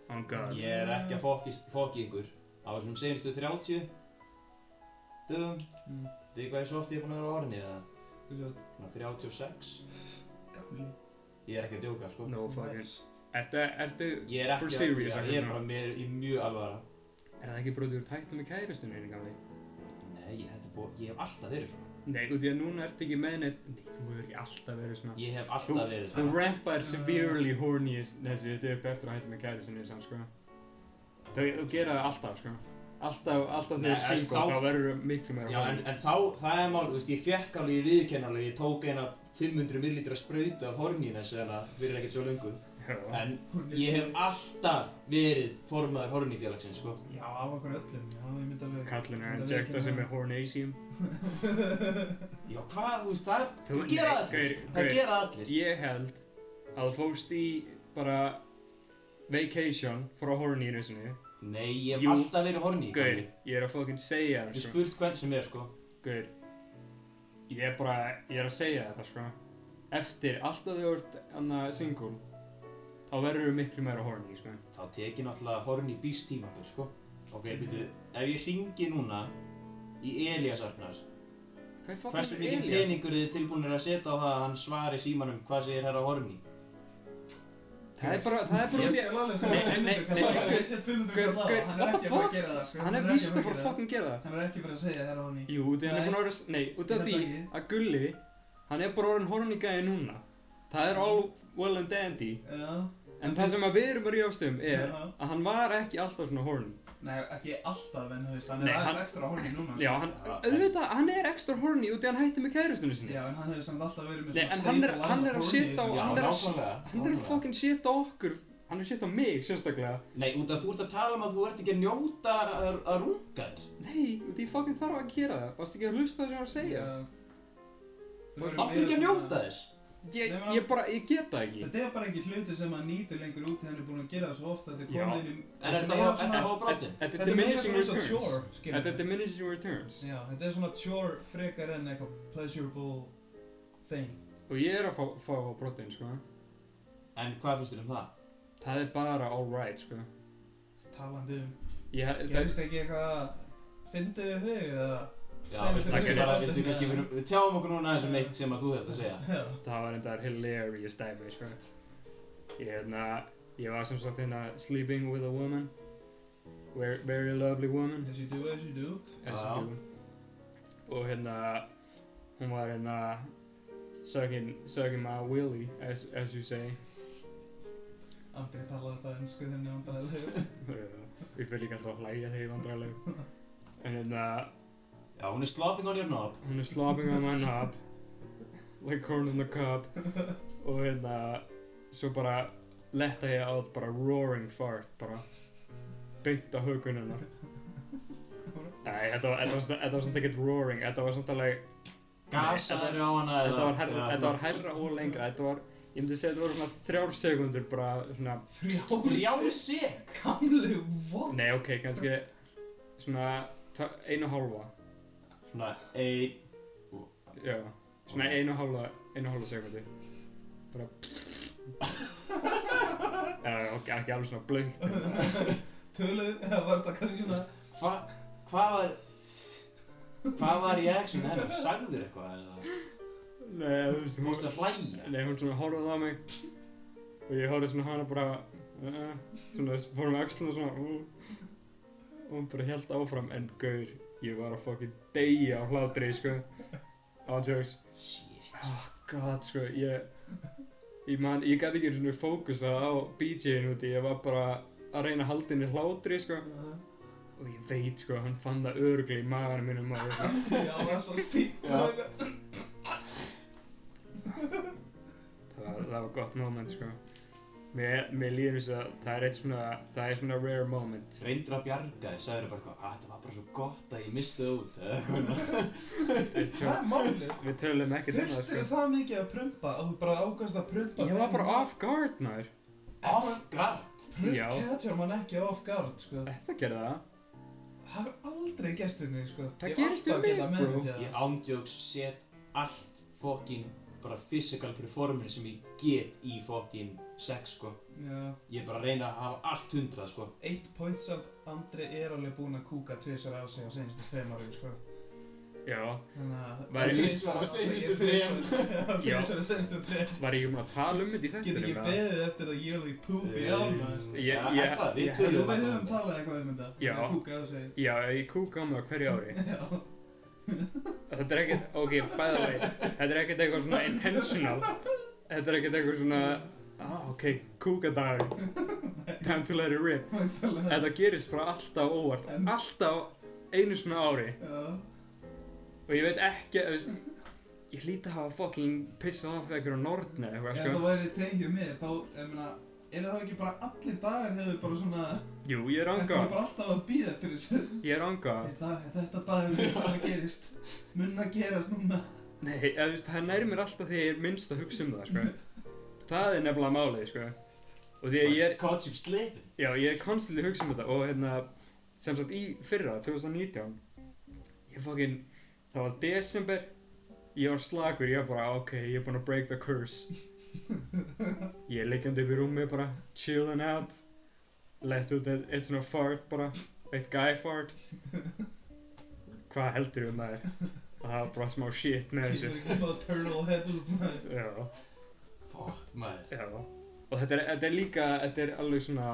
On god
Ég er ekki að fokki, fokki ykkur. Á þessum seinustu 30 dögum,
Mm.
þið veit hvað er svo oft ég er búin að vera horny eða?
Þú veist,
Svona 36?
gamli.
Ég er ekki að djóka, sko.
No fucking
Næst.
Ertu, ertu
Ég er
For
ekki að,
serious,
já,
ekki
ég er
svona.
bara mér í mjög alvara.
Er það ekki brotið úr tættum í kæristinu einu gamli?
Nei, ég, þetta er búið, ég hef alltaf verið svona.
Nei, út í að núna ertu ekki með neitt Nei, þú hefur ekki alltaf verið svona
Ég Ah. hef alltaf verið
Þú
svona.
rampar severely horny is- þessi þetta upp eftir að hætta með kæri sinni samt sko Þú þú gera það alltaf sko Alltaf, alltaf
Nei,
þegar þú
en
ert single
þá-
þá verður þú miklu meira
Já, en,
horny
en þá, það er mál, þú veist, ég fekk alveg, ég viðkenn alveg, ég tók eina 500 millilitra sprautu af horni þessu en það verið ekkert svo lungu.
Já.
En ég hef alltaf verið formaður horni félagsins, sko.
Já, af okkur öllum, já, ég myndi alveg...
Kallin er
myndi alveg
injecta
gera
sem er
það.
hornasium
Já, hvað, þú veist, það,
Þú-
það gera
nei,
allir.
gaur,
Það
gaur.
gera allir.
Ég held að þú fóst í bara vacation frá hornyinu sinni
Nei, ég
Jú.
hef alltaf verið horni.
Gaur, ég er að fucking segja
Ég
það
hef
sko
spurt hvern sem er, sko.
Gaur, ég er bara, ég er að segja það sko Eftir, alltaf þegar þú ert annað single þá verður þú miklu meira horny sko
Þá tek ég náttúrulega horn í býst tímabil,
Mhm.
sko. Ok, byrju, ef ég ringi núna í Elias Arnar
Hvað fokk
Hversu
er
mikið
Elías?
peningur eru þið tilbúinir að setja á það að hann svari símanum hvað segir herra Horni?
Það er bara, það er bara
Ég
út í-
skal alveg segja
Nei, nei,
500
nei,
kallar.
nei.
Ég set 500
Gaur,
kallar
gaur,
á. Hann
what
er ekki
the
að fara
fuck?
að gera það, sko.
Hann er
ekki
víst að
fara
fara
gera
að
það.
fokkin gera það.
Hann er ekki fyrir að segja þér á hann í.
Jú, því hann er
Nei.
búinn að vera, nei, út af
Þetta
því
ekki.
að Gulli, hann er bara orðin horny gæði núna. Það er all well and dandy.
Já.
En það sem að við erum að rjófst um er
Já.
að hann var ekki alltaf svona horny.
Nei, ekki alltaf, en þú veist, hann
Nei,
er aðeins
hann-
ekstra horny núna. sko.
Já, hann,
Já.
auðvitað, hann er ekstra horny út í að hann hætti með kærustunni sinni.
Já, en hann hefur samt alltaf verið með
Nei, en hann er-
stable
hann er að
horny
setja
sem-
á-
Já,
hann er að-
nákvæmlega.
Hann er að
nákvæmlega.
fucking shit á okkur, hann er shit á mig sérstaklega.
Nei, út af þú ert að tala um að þú ert ekki að njóta að, að runga þér.
Nei, út í fucking þarf að gera það. Varst ekki að hlusta það sem ég var að segja?
Já. Þú verður
Af hverju ekki að
meira
njóta
svona-
þess?
Ég,
Nei, menn-
ég bara, ég get það ekki.
Þetta er bara ekki hluti sem hann nýtur lengur út þegar hann er búinn að gera það svo oft að þetta
Já.
er komið inn í...
Er þetta að
meira
hafa- ertu að hafa bráttinn?
Þetta
Þetta er meira
diminishing
svona eins og chore,
returns.
skilur
Þetta er diminishing returns.
Já, þetta er svona chore frekar en eitthvað pleasurable thing.
Og ég er að fá, fá á brotin, sko.
En hvað finnst þér um það?
Það er bara alright, sko.
Talandi um,
Ég, það,
gerist ekki eitthvað fyndið við þig eða...
Já,
Sem
viltu
sem
kannski
sem
bara,
sem
viltu
sem
kannski,
sem
við, við tjáum okkur núna aðeins um eitt sem að þú þurft að segja.
Já.
það var endar hilarious dæmi, sko. Ég, hérna, ég var sem sagt hérna sleeping with a woman. Very, very lovely woman.
Yes you do, yes you do.
as
Já.
you do og hérna hún var hérna sucking, sucking my willy as, as you say
Andri talar alltaf ennsku þenni vandrarlegu.
við fyrir líka alltaf að hlæja þegar ég vandrarleg en hérna
Já, hún er slopping on your knob.
hún er slopping on my knob like corn on the cob og hérna svo bara letta ég áð bara roaring fart bara beint á haugun hennar Nei, þetta var, þetta var, samt- þetta var samt ekkert roaring, þetta var samt alveg
Gasa
þetta-
þér á hana eða...
Þetta var, herra,
eða
þetta var
svona-
herra og lengra, þetta var, ég myndi segja þetta voru svona þrjár sekundur bara svona,
Þrjá
Frjáls!
sek!
Gamlu vorn!
nei ok, kannski svona tö- einu og hálfa,
Svona, ein...
já, svona einu og hálfa, einu og hálfa sekundu, bara, já, já, ok, ekki alveg svona blökt,
Töluð, eða var þetta kannski svona...
Hva, hvað var... Hvað var reaction hennar? Sagðu þér eitthvað eða?
nei, þú veist,
Þú fórst
hún,
að hlæja?
nei, hún svona horfði á mig og ég horfði svona á hana bara, uh, uh, svona, fór með axluna svona, uh, og hún bara held áfram, en gaur, ég var að fucking deyja á hlátri, sko, ántjóks.
Shit.
God, sko, ég ég man, ég gæti ekki svona fókusað á BJ-in úti, ég var bara að reyna að halda henni hlátri, sko og ég veit, sko, hann fann það öruglega í maganum mínum og ég-
Já, alltaf stípa
Já.
eitthvað.
það, var- það var gott moment, sko mér, mér líður eins og að það er eitt svona það er svona rare moment
Reyndur að bjarga þér, sagður bara eitthvað, að þetta var bara svo gott að ég misti það út, eða eitthvað.
Það er málið.
við tölum ekki um það,
Þurftir
sko
það mikið að prumpa að þú bara ákast að prumpa
ég var bara off guard, nær
Off guard.
Já.
Prump catcher mann ekki off guard, sko.
þetta gerði það
Það hefur aldrei gerst við mig, sko.
Það gerist við mig, bro.
Ég
Ég
ándjóks set allt fokkin bara physical performance sem ég get í fokkin sex sko.
Já.
Ég er bara að reyna að hafa allt hundrað sko.
Eitt point samt, Andri er alveg búinn að kúka tvisar á sig á senstu tveim árum, sko.
já,
Þannig að...
Væri-
Þrisvar á seinustu þrem.
Já.
Tvisar á senstu þreim.
var ég um að tala um þetta í
Get
þetta
ekki beðið eftir að yearly poop í álma.
Ég-
Já, Eh,
ég-
er það, við
ég-
Þú veit
tölum alltaf
um
um þetta.
talað eitthvað um þetta.
Já.
Að kúka á sig.
já, ég kúka á mig á hverju ári
Já.
Þetta er ekkert, ok, by the way, þetta er ekkert eitthvað svona intentional. Þetta er ekkert eitthvað svona, ah, ok, kúkadagur, time to let it rip.
Væntanlega.
Þetta gerist bara alltaf óvart, alltaf einu svona ári.
Já.
Og ég veit ekki, þú veist, ég hlýti að hafa fucking pissað af einhverju nortni eða
Ef
eitthvað,
það
sko.
væri tengið mér, þá, ég meina, eru þá ekki bara allir dagar hefur bara svona...
Jú, ég er
Þetta er
angað,
bara alltaf að býða eftir þessu.
ég er angað.
Þetta, þetta dagur er það gerist. Mun að gerast núna.
Nei, eða þú veist, það nær mér alltaf þegar ég er minnst að hugsa um það, sko. Það er nefnilega málið, sko. Og því að ég er,
Caught you slipping.
Já, ég er konstantið að hugsa um þetta og hérna, sem sagt í fyrra, 2019, ég fokkin, það var desember, ég var slagur, ég var bara, ok, ég er búinn að break the curse. ég er liggjandi upp í rúmi bara, chillin' out, lett út eitt, eitt svona fart bara, eitt guy fart. Hvað heldur við maður? að hafa bara smá shit með þessu.
Kýmur ekki smá turtle head út maður.
Já,
Fuck, maður.
já. Og þetta er, þetta er líka, þetta er alveg svona,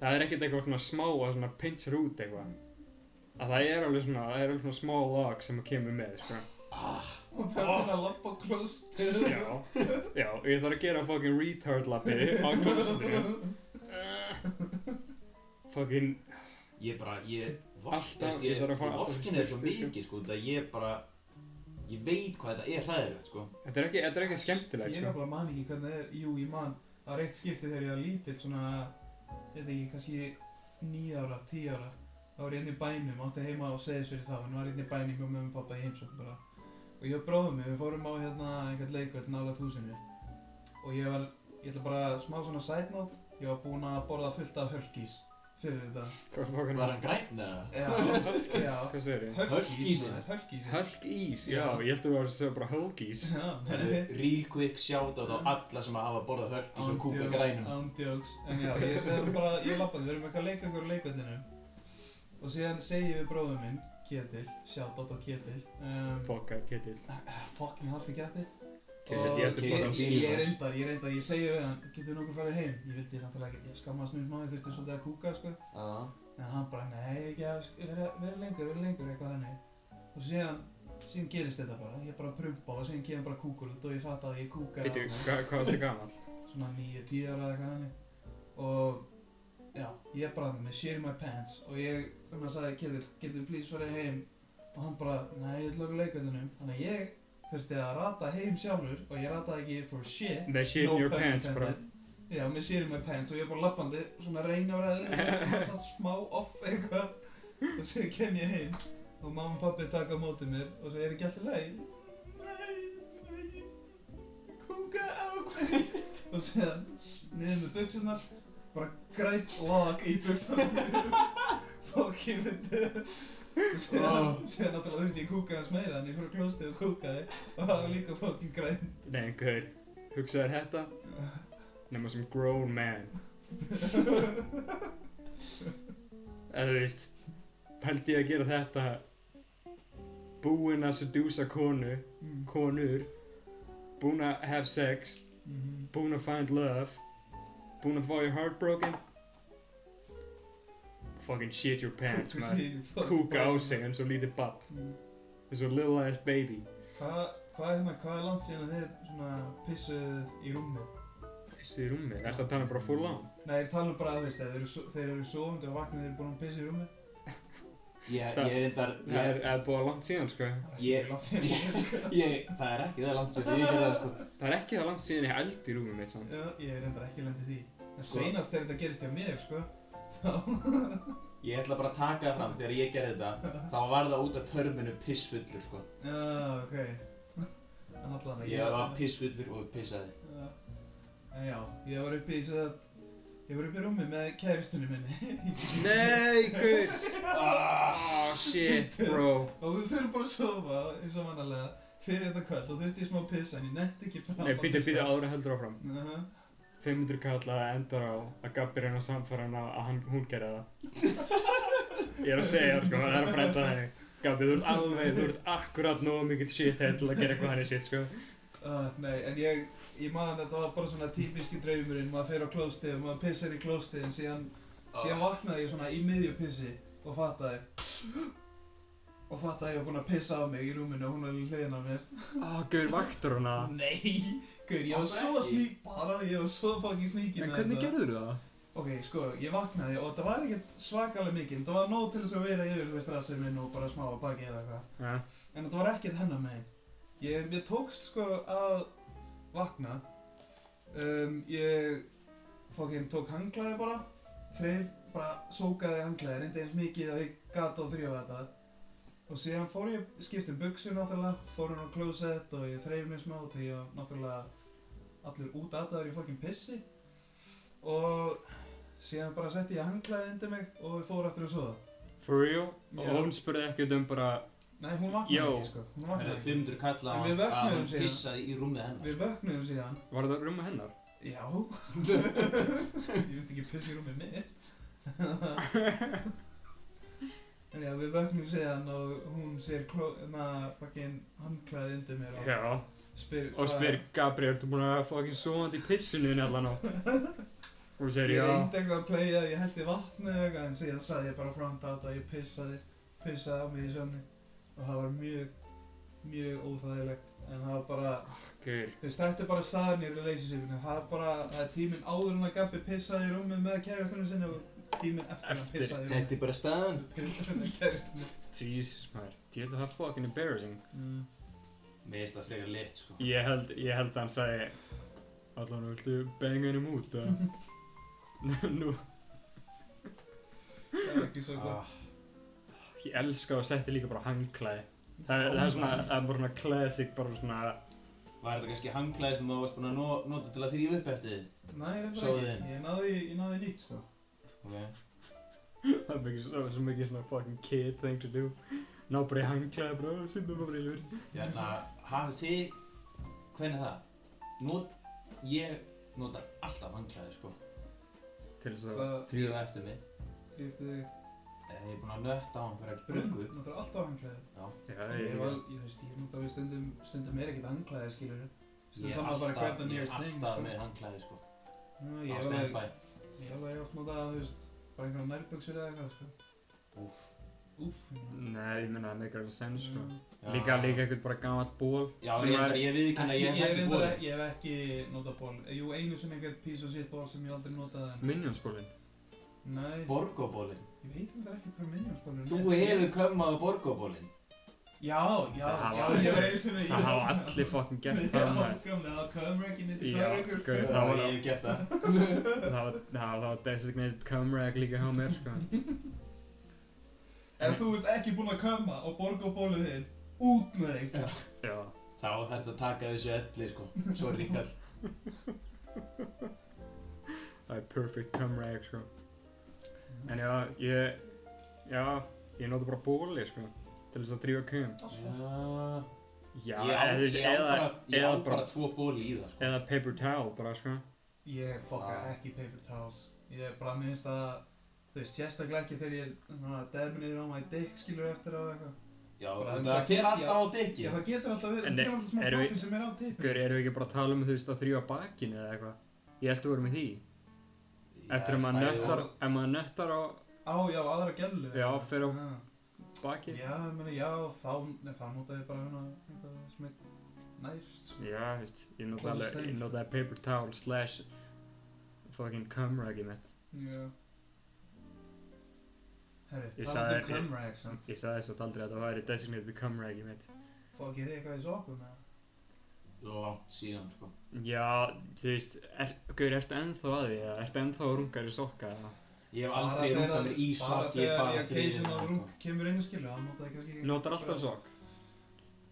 það er ekkert eitthvað svona smá að svona pinchur út eitthvað. Að það er alveg svona, það er alveg svona smá lag sem að kemur með, sko.
Hún fer svona að lappa klostur.
Já, já, ég þarf að gera fucking retard lappi á kvöldstunni. Fucking,
Ég bara, ég...
Alltaf, ég þarf að fara alltaf
Vorkin er svo
í snertingu.
mikið, sko, það ég bara... Ég veit hvað þetta er hræðilegt, sko.
þetta er ekki, þetta er ekki skemmtilegt,
Ég
sko.
nefnilega man ekki hvernig það er, jú ég man Það var eitt skipti þegar ég var lítill svona Ég veit ekki, kannski níu ára, tíu ára Þá var ég inn í bænum, átti heima á Seyðisfyrir þá En var inn í bænum hjá mömmu og pappa í heimsókn bara Og ég og bróðum mig, við fórum á hérna einhvern leikvöld nálægt húsinu Og ég var, ég ætla bara smá svona side note Ég var búinn að borða fullt af hölkís Fyrir þetta
Hvað fucking
Var hann græn eða?
Já, já
Hvað segir ég?
Hölkís,
Hölkísinn.
maður, hölkísinn
Hulk Ís, já, ég held að þú varst að segja bara Hulk Ís.
Já,
Það er real quick shoutout á alla sem að hafa borðað hölkis og kúka grænum.
Ándjóks, en já, ég segði bara, ég lappaði, við erum eitthvað að leika okkur á leikvöldinu Og síðan segi ég við bróðum minn, Ketil, shoutout á Ketil um, eh,
Fokka, Ketil.
Fucking haldi Ketil
Ketill, ég heldur
ég,
bara á
ég,
bílinn
ég
hans.
reyndar, ég reyndar, ég segi við hann, getur nokkuð farið heim? Ég vildi náttúrulega ekki, ég skammaðast mér smá, ég þurfti svolítið að kúka, sko
Já.
En hann bara, nei, ekki að sk- vera, vera lengur, vera lengur, eitthvað þannig Og síðan, síðan gerist þetta bara, ég bara prumpa og síðan kemur bara kúkur út og ég fatt að ég kúka
Býtu, hvað hva er þetta gaman?
svona 9-10 ára eða eitthvað þannig og já, ég er bara þarna með shit in my pants og ég, um að sagði, getur, getur please farið heim og hann bara, nei, ég ætla okkur leikveitunum þannig að ég þurfti að rata heim sjálfur og ég rataði ekki for shit
The shit in your
pun
pants, bro.
intended. já, með shit in my pants og ég er bara lappandi svona reyna á ræður satt smá off eitthvað og svo kem ég heim og mamma og pappi taka á móti mér og svo er ekki alltaf leið nei, nei, ég kúka á mig og séðan s- niður með buksunar bara grænt lag í buksunar fokkið þetta og séðan,
Oh.
séðan náttúrulega þurfti ég að kúka hans meira en ég fór að klósti og kúkaði og það var líka fokkin grænt
Nei, en gaur, hugsaður þetta? Nefna sem grown man. Eða þú veist, pældi ég að gera þetta búinn að sedusa konu,
mm.
konur, búinn að have sex,
Mhm.
búinn að find love, búinn að fá your heart broken. Fucking shit your pants,
Kúkur
man.
sig í fucking
Kúka á
barnið.
sig eins og lítið bann.
Mm.
eins og little ass baby
Hvað hvað er hérna, hvað er langt síðan að þið svona pissuð í rúmið?
þessi rúmi, ertu að tala bara full on
Nei, ég tala bara að þú veist, ef þeir eru, so- þeir eru sofandi og vaknað, þeir eru búin að pissa í rúmið.
Ég,
Það-
ég reyndar... ég-
það er, er búið að langt síðan sko
Það er
Ég-
ekki langt síðan ég er, sko.
Ég, það er ekki, það er langt sér, ég gerði það sko
það er ekki það langt síðan ég eld í rúmi mitt samt
Já, Ég er reyndar ekki lendið því. En
Sko.
seinast þegar þetta gerist hjá mér, sko, þá...
Ég ætla bara að taka það fram, þegar ég gerði þetta, þá var það út af törminu pissfullur sko
Já, ok. En allan að
Ég var pissfullur og pissaði
Já. En já, ég var uppi í svo að... Ég var uppi í rúmið með kæristunni minni.
nei, guð
Ah,
oh shit, bro
og við fyrir bara að sofa, eins og mannalega, fyrir þetta kvöld og þurfti ég smá að pissa, en ég nefndi ekki fram
nei,
að
býta,
pissa.
býta áður en heldur áfram
Aha.
500 kall að endar á að Gabi reyna að samfara hana að hann, hún gerði það ég er að segja þér, sko, það er að frenda þannig Gabi, þú ert alveg, þú ert akkurat nógu mikill shit til að gera eitthvað hann shit, sko
Ah, nei, en ég, ég man að það var bara svona típiski draumurinn, maður fer á klóstið og maður pissar í klóstið en síðan, síðan vaknaði ég svona í miðju pissi og fattaði og fattaði að ég var búinn að pissa á mig í rúminu og hún var alveg hliðin á mér.
oh, guð, vaktur hana
Nei, gaur, ég var
Af
svo
hverju?
sník, bara ég var svo fucking sníkin
gerður það?
Ok, sko, ég vaknaði og það var ekkert svakalega mikið, það var nóg til þess að vera yfir, þú veist, rassið minn og bara smá á baki eða eitthvað.
Ja.
En þetta var ekkert hennar megin. Ég, mér tókst sko að vakna. Um, ég fokkin tók hanglaði bara. Þreif bara sókaði hanglaði, reyndi eins mikið að ég gata og þrjóða þetta. Og síðan fór ég, skipti um buksu náttúrulega, fór hún á klósett og ég þreif mér smá til ég var náttúrulega allir út aðdaður í fokkin pissi. Og síðan bara setti ég hanglaði undir mig og fór aftur að soða.
for real?
Já.
og hún spurði ekkert um bara
Nei, hún vaknaði
Jó.
ekki sko. Hún
Það
vaknaði
er
ekki.
500 kalla á
En við
hann að
vöknuðum
hann
síðan.
pissaði í rúmið hennar
Við vöknuðum síðan
Var það rúma hennar?
Já Ég veit ekki pissi í rúmið mitt En já, við vöknum síðan og hún sér kló, na, fucking handklæði undir mér og
Já,
spyr
og
hvað-
spyr Gabriel, ertu búin að fókin svoðandi í pissinu inn allan átt? Og hún segir
Ég
já,
reyndi eitthvað að playa, ég held í vatni eða eitthvað en síðan sagði ég bara front out að ég pissaði, pissaði á mig í sönni og það var mjög, mjög óþægilegt en það var bara,
gaur,
þú veist þetta er bara staðan í relationshipinu, það er bara, það er tíminn áður en að Gabi pissaði í rúmið með kærastunum sinni og tíminn eftir en að
Eftir,
pissaði í
Þetta
rúmið
er bara staðan.
pissaði með kærastunum.
Jesus maður, djöðu það fucking embarrassing.
Mm.
Mér finnst það frekar lit, sko.
Ég held, ég held að hann sagði, allan viltu banga hennum út, eða? Nú,
Það er ekki svo gott.
Ah,
ég elska og setti líka bara hangklæði. Það, er- það er svona, það er bara svona classic, bara svona,
Var þetta kannski hangklæði sem þú varst búin að nó- nota til að þrýfa upp eftir þið?
Nei, reynda
Sjóðu
ekki,
þinn.
ég náði, ég náði nýtt sko.
Ok.
það er mikið, það er svo mikið svona fucking kid thing to do. Ná bara í hangklæði, bara, sindum bara yfir.
Hérna, hafið þið, hvernig er það? Not, ég nota alltaf hangklæði, sko.
Til þess að,
Hvað
Þrýfa eftir mig.
þrýfti þig?
Eh, Ég er búin að nötta á einhverja
Brunn,
bruggu.
notar alltaf hangklæði.
Já.
já,
Ég,
ég,
var, ég, þú veist, ég nota alveg stundum, stundum er ekkert anglaðið, skilur
Ég
Stundum
er
þarf maður bara að grab
alltaf,
the
ég er
nearest thing,
alltaf með hangklæði, sko.
Ná,
Á
ég hef alveg,
standby.
ég hef alveg oft notað, þú veist, bara einhverja nærbuxur eða eitthvað, sko.
Úff.
Úff, ég meina.
Nei, ég meina það meikar alveg sens sko.
Mm.
Já.
Líka, líka eitthvað bara gammalt ból
Já,
sem
reyndar,
er-
ég viðkynna,
Ekki,
ég
ég,
hef
reyndar,
hætti
e-
bóli.
ég hef ekki notað ból. Jú, einu sem einhvern piece of shit ból sem ég aldrei notaði en...
Minionsbólinn
Nei,
Borgobólinn.
ég veit um það ekki hver minnjónsbólur
Þú hefur kömmað á borgobólinn.
Já, já,
Það
já,
hafa-
ég var einu sem
Það hafa allir fucking gert það
Já,
maður.
gamlega, það komur ekki mitt í sko.
Já,
tærleikur.
gaur,
Ég
það var
hef gert það.
Það var, það var, það var designated camera líka hjá mér sko
Ef þú ert ekki búinn að koma og borga á bólið þinn, út með þig.
Já
Þá þarf að taka þessu öllu, sko. Sorry, kall.
Það er perfect camera sko En já, ég Já, ég nota bara bóli sko Til þess að drífa kum
Já.
Já,
Ég á,
eða þú veist,
ég á bara,
eða
ég á
eða
bara
bara-
tvo bóli í það, sko.
Eða paper towel bara sko
Ég fokka
Vá.
ekki paper towels. Ég er bara minnst að, þú veist, sérstaklega ekki þegar ég er svona definir á my dick skilur eftir á eitthvað.
Já,
Bara
en
um
það
það
fer
fínt,
alltaf á dykki.
Já, það getur alltaf verið,
En
það
nei,
kemur alltaf smá
erum við-
pappir sem er á
Hver,
tippinu.
erum við ekki bara að tala um þú veist að þrýfa bakinu eða eitthvað Ég held þú vorum í því Eftir að maður nöttar, ef maður nöttar á
Á, já, aðra gellu.
Já, fer á
Já.
bakið
Já, ég meina, já, þá, nei, þá nota ég bara hérna eitthvað sem er nærst. sko.
Já, þú veist, ég nota
Closest
alveg, ég
thing.
nota alveg paper towel slash fucking cum rag í mitt.
Já. Herri,
Ég
talandum
sagði-
um cum rags, samt.
Ég sagði þess að aldrei að það væri designated cum rag í mitt.
Fokkið þið eitthvað í sokkum eða?
Langt síðan, sko.
Já, þú veist, er, gauður, ertu ennþá að því eða ertu ennþá að rungar í sokka eða?
Ég hef
Bara
aldrei
þegar-
rúntað mér í sokk, ég er
Bara
bara
þegar ég
þrýðin.
occasional rúk kemur inn skilur, hann notaði kannski ekki
Notar alltaf sokk?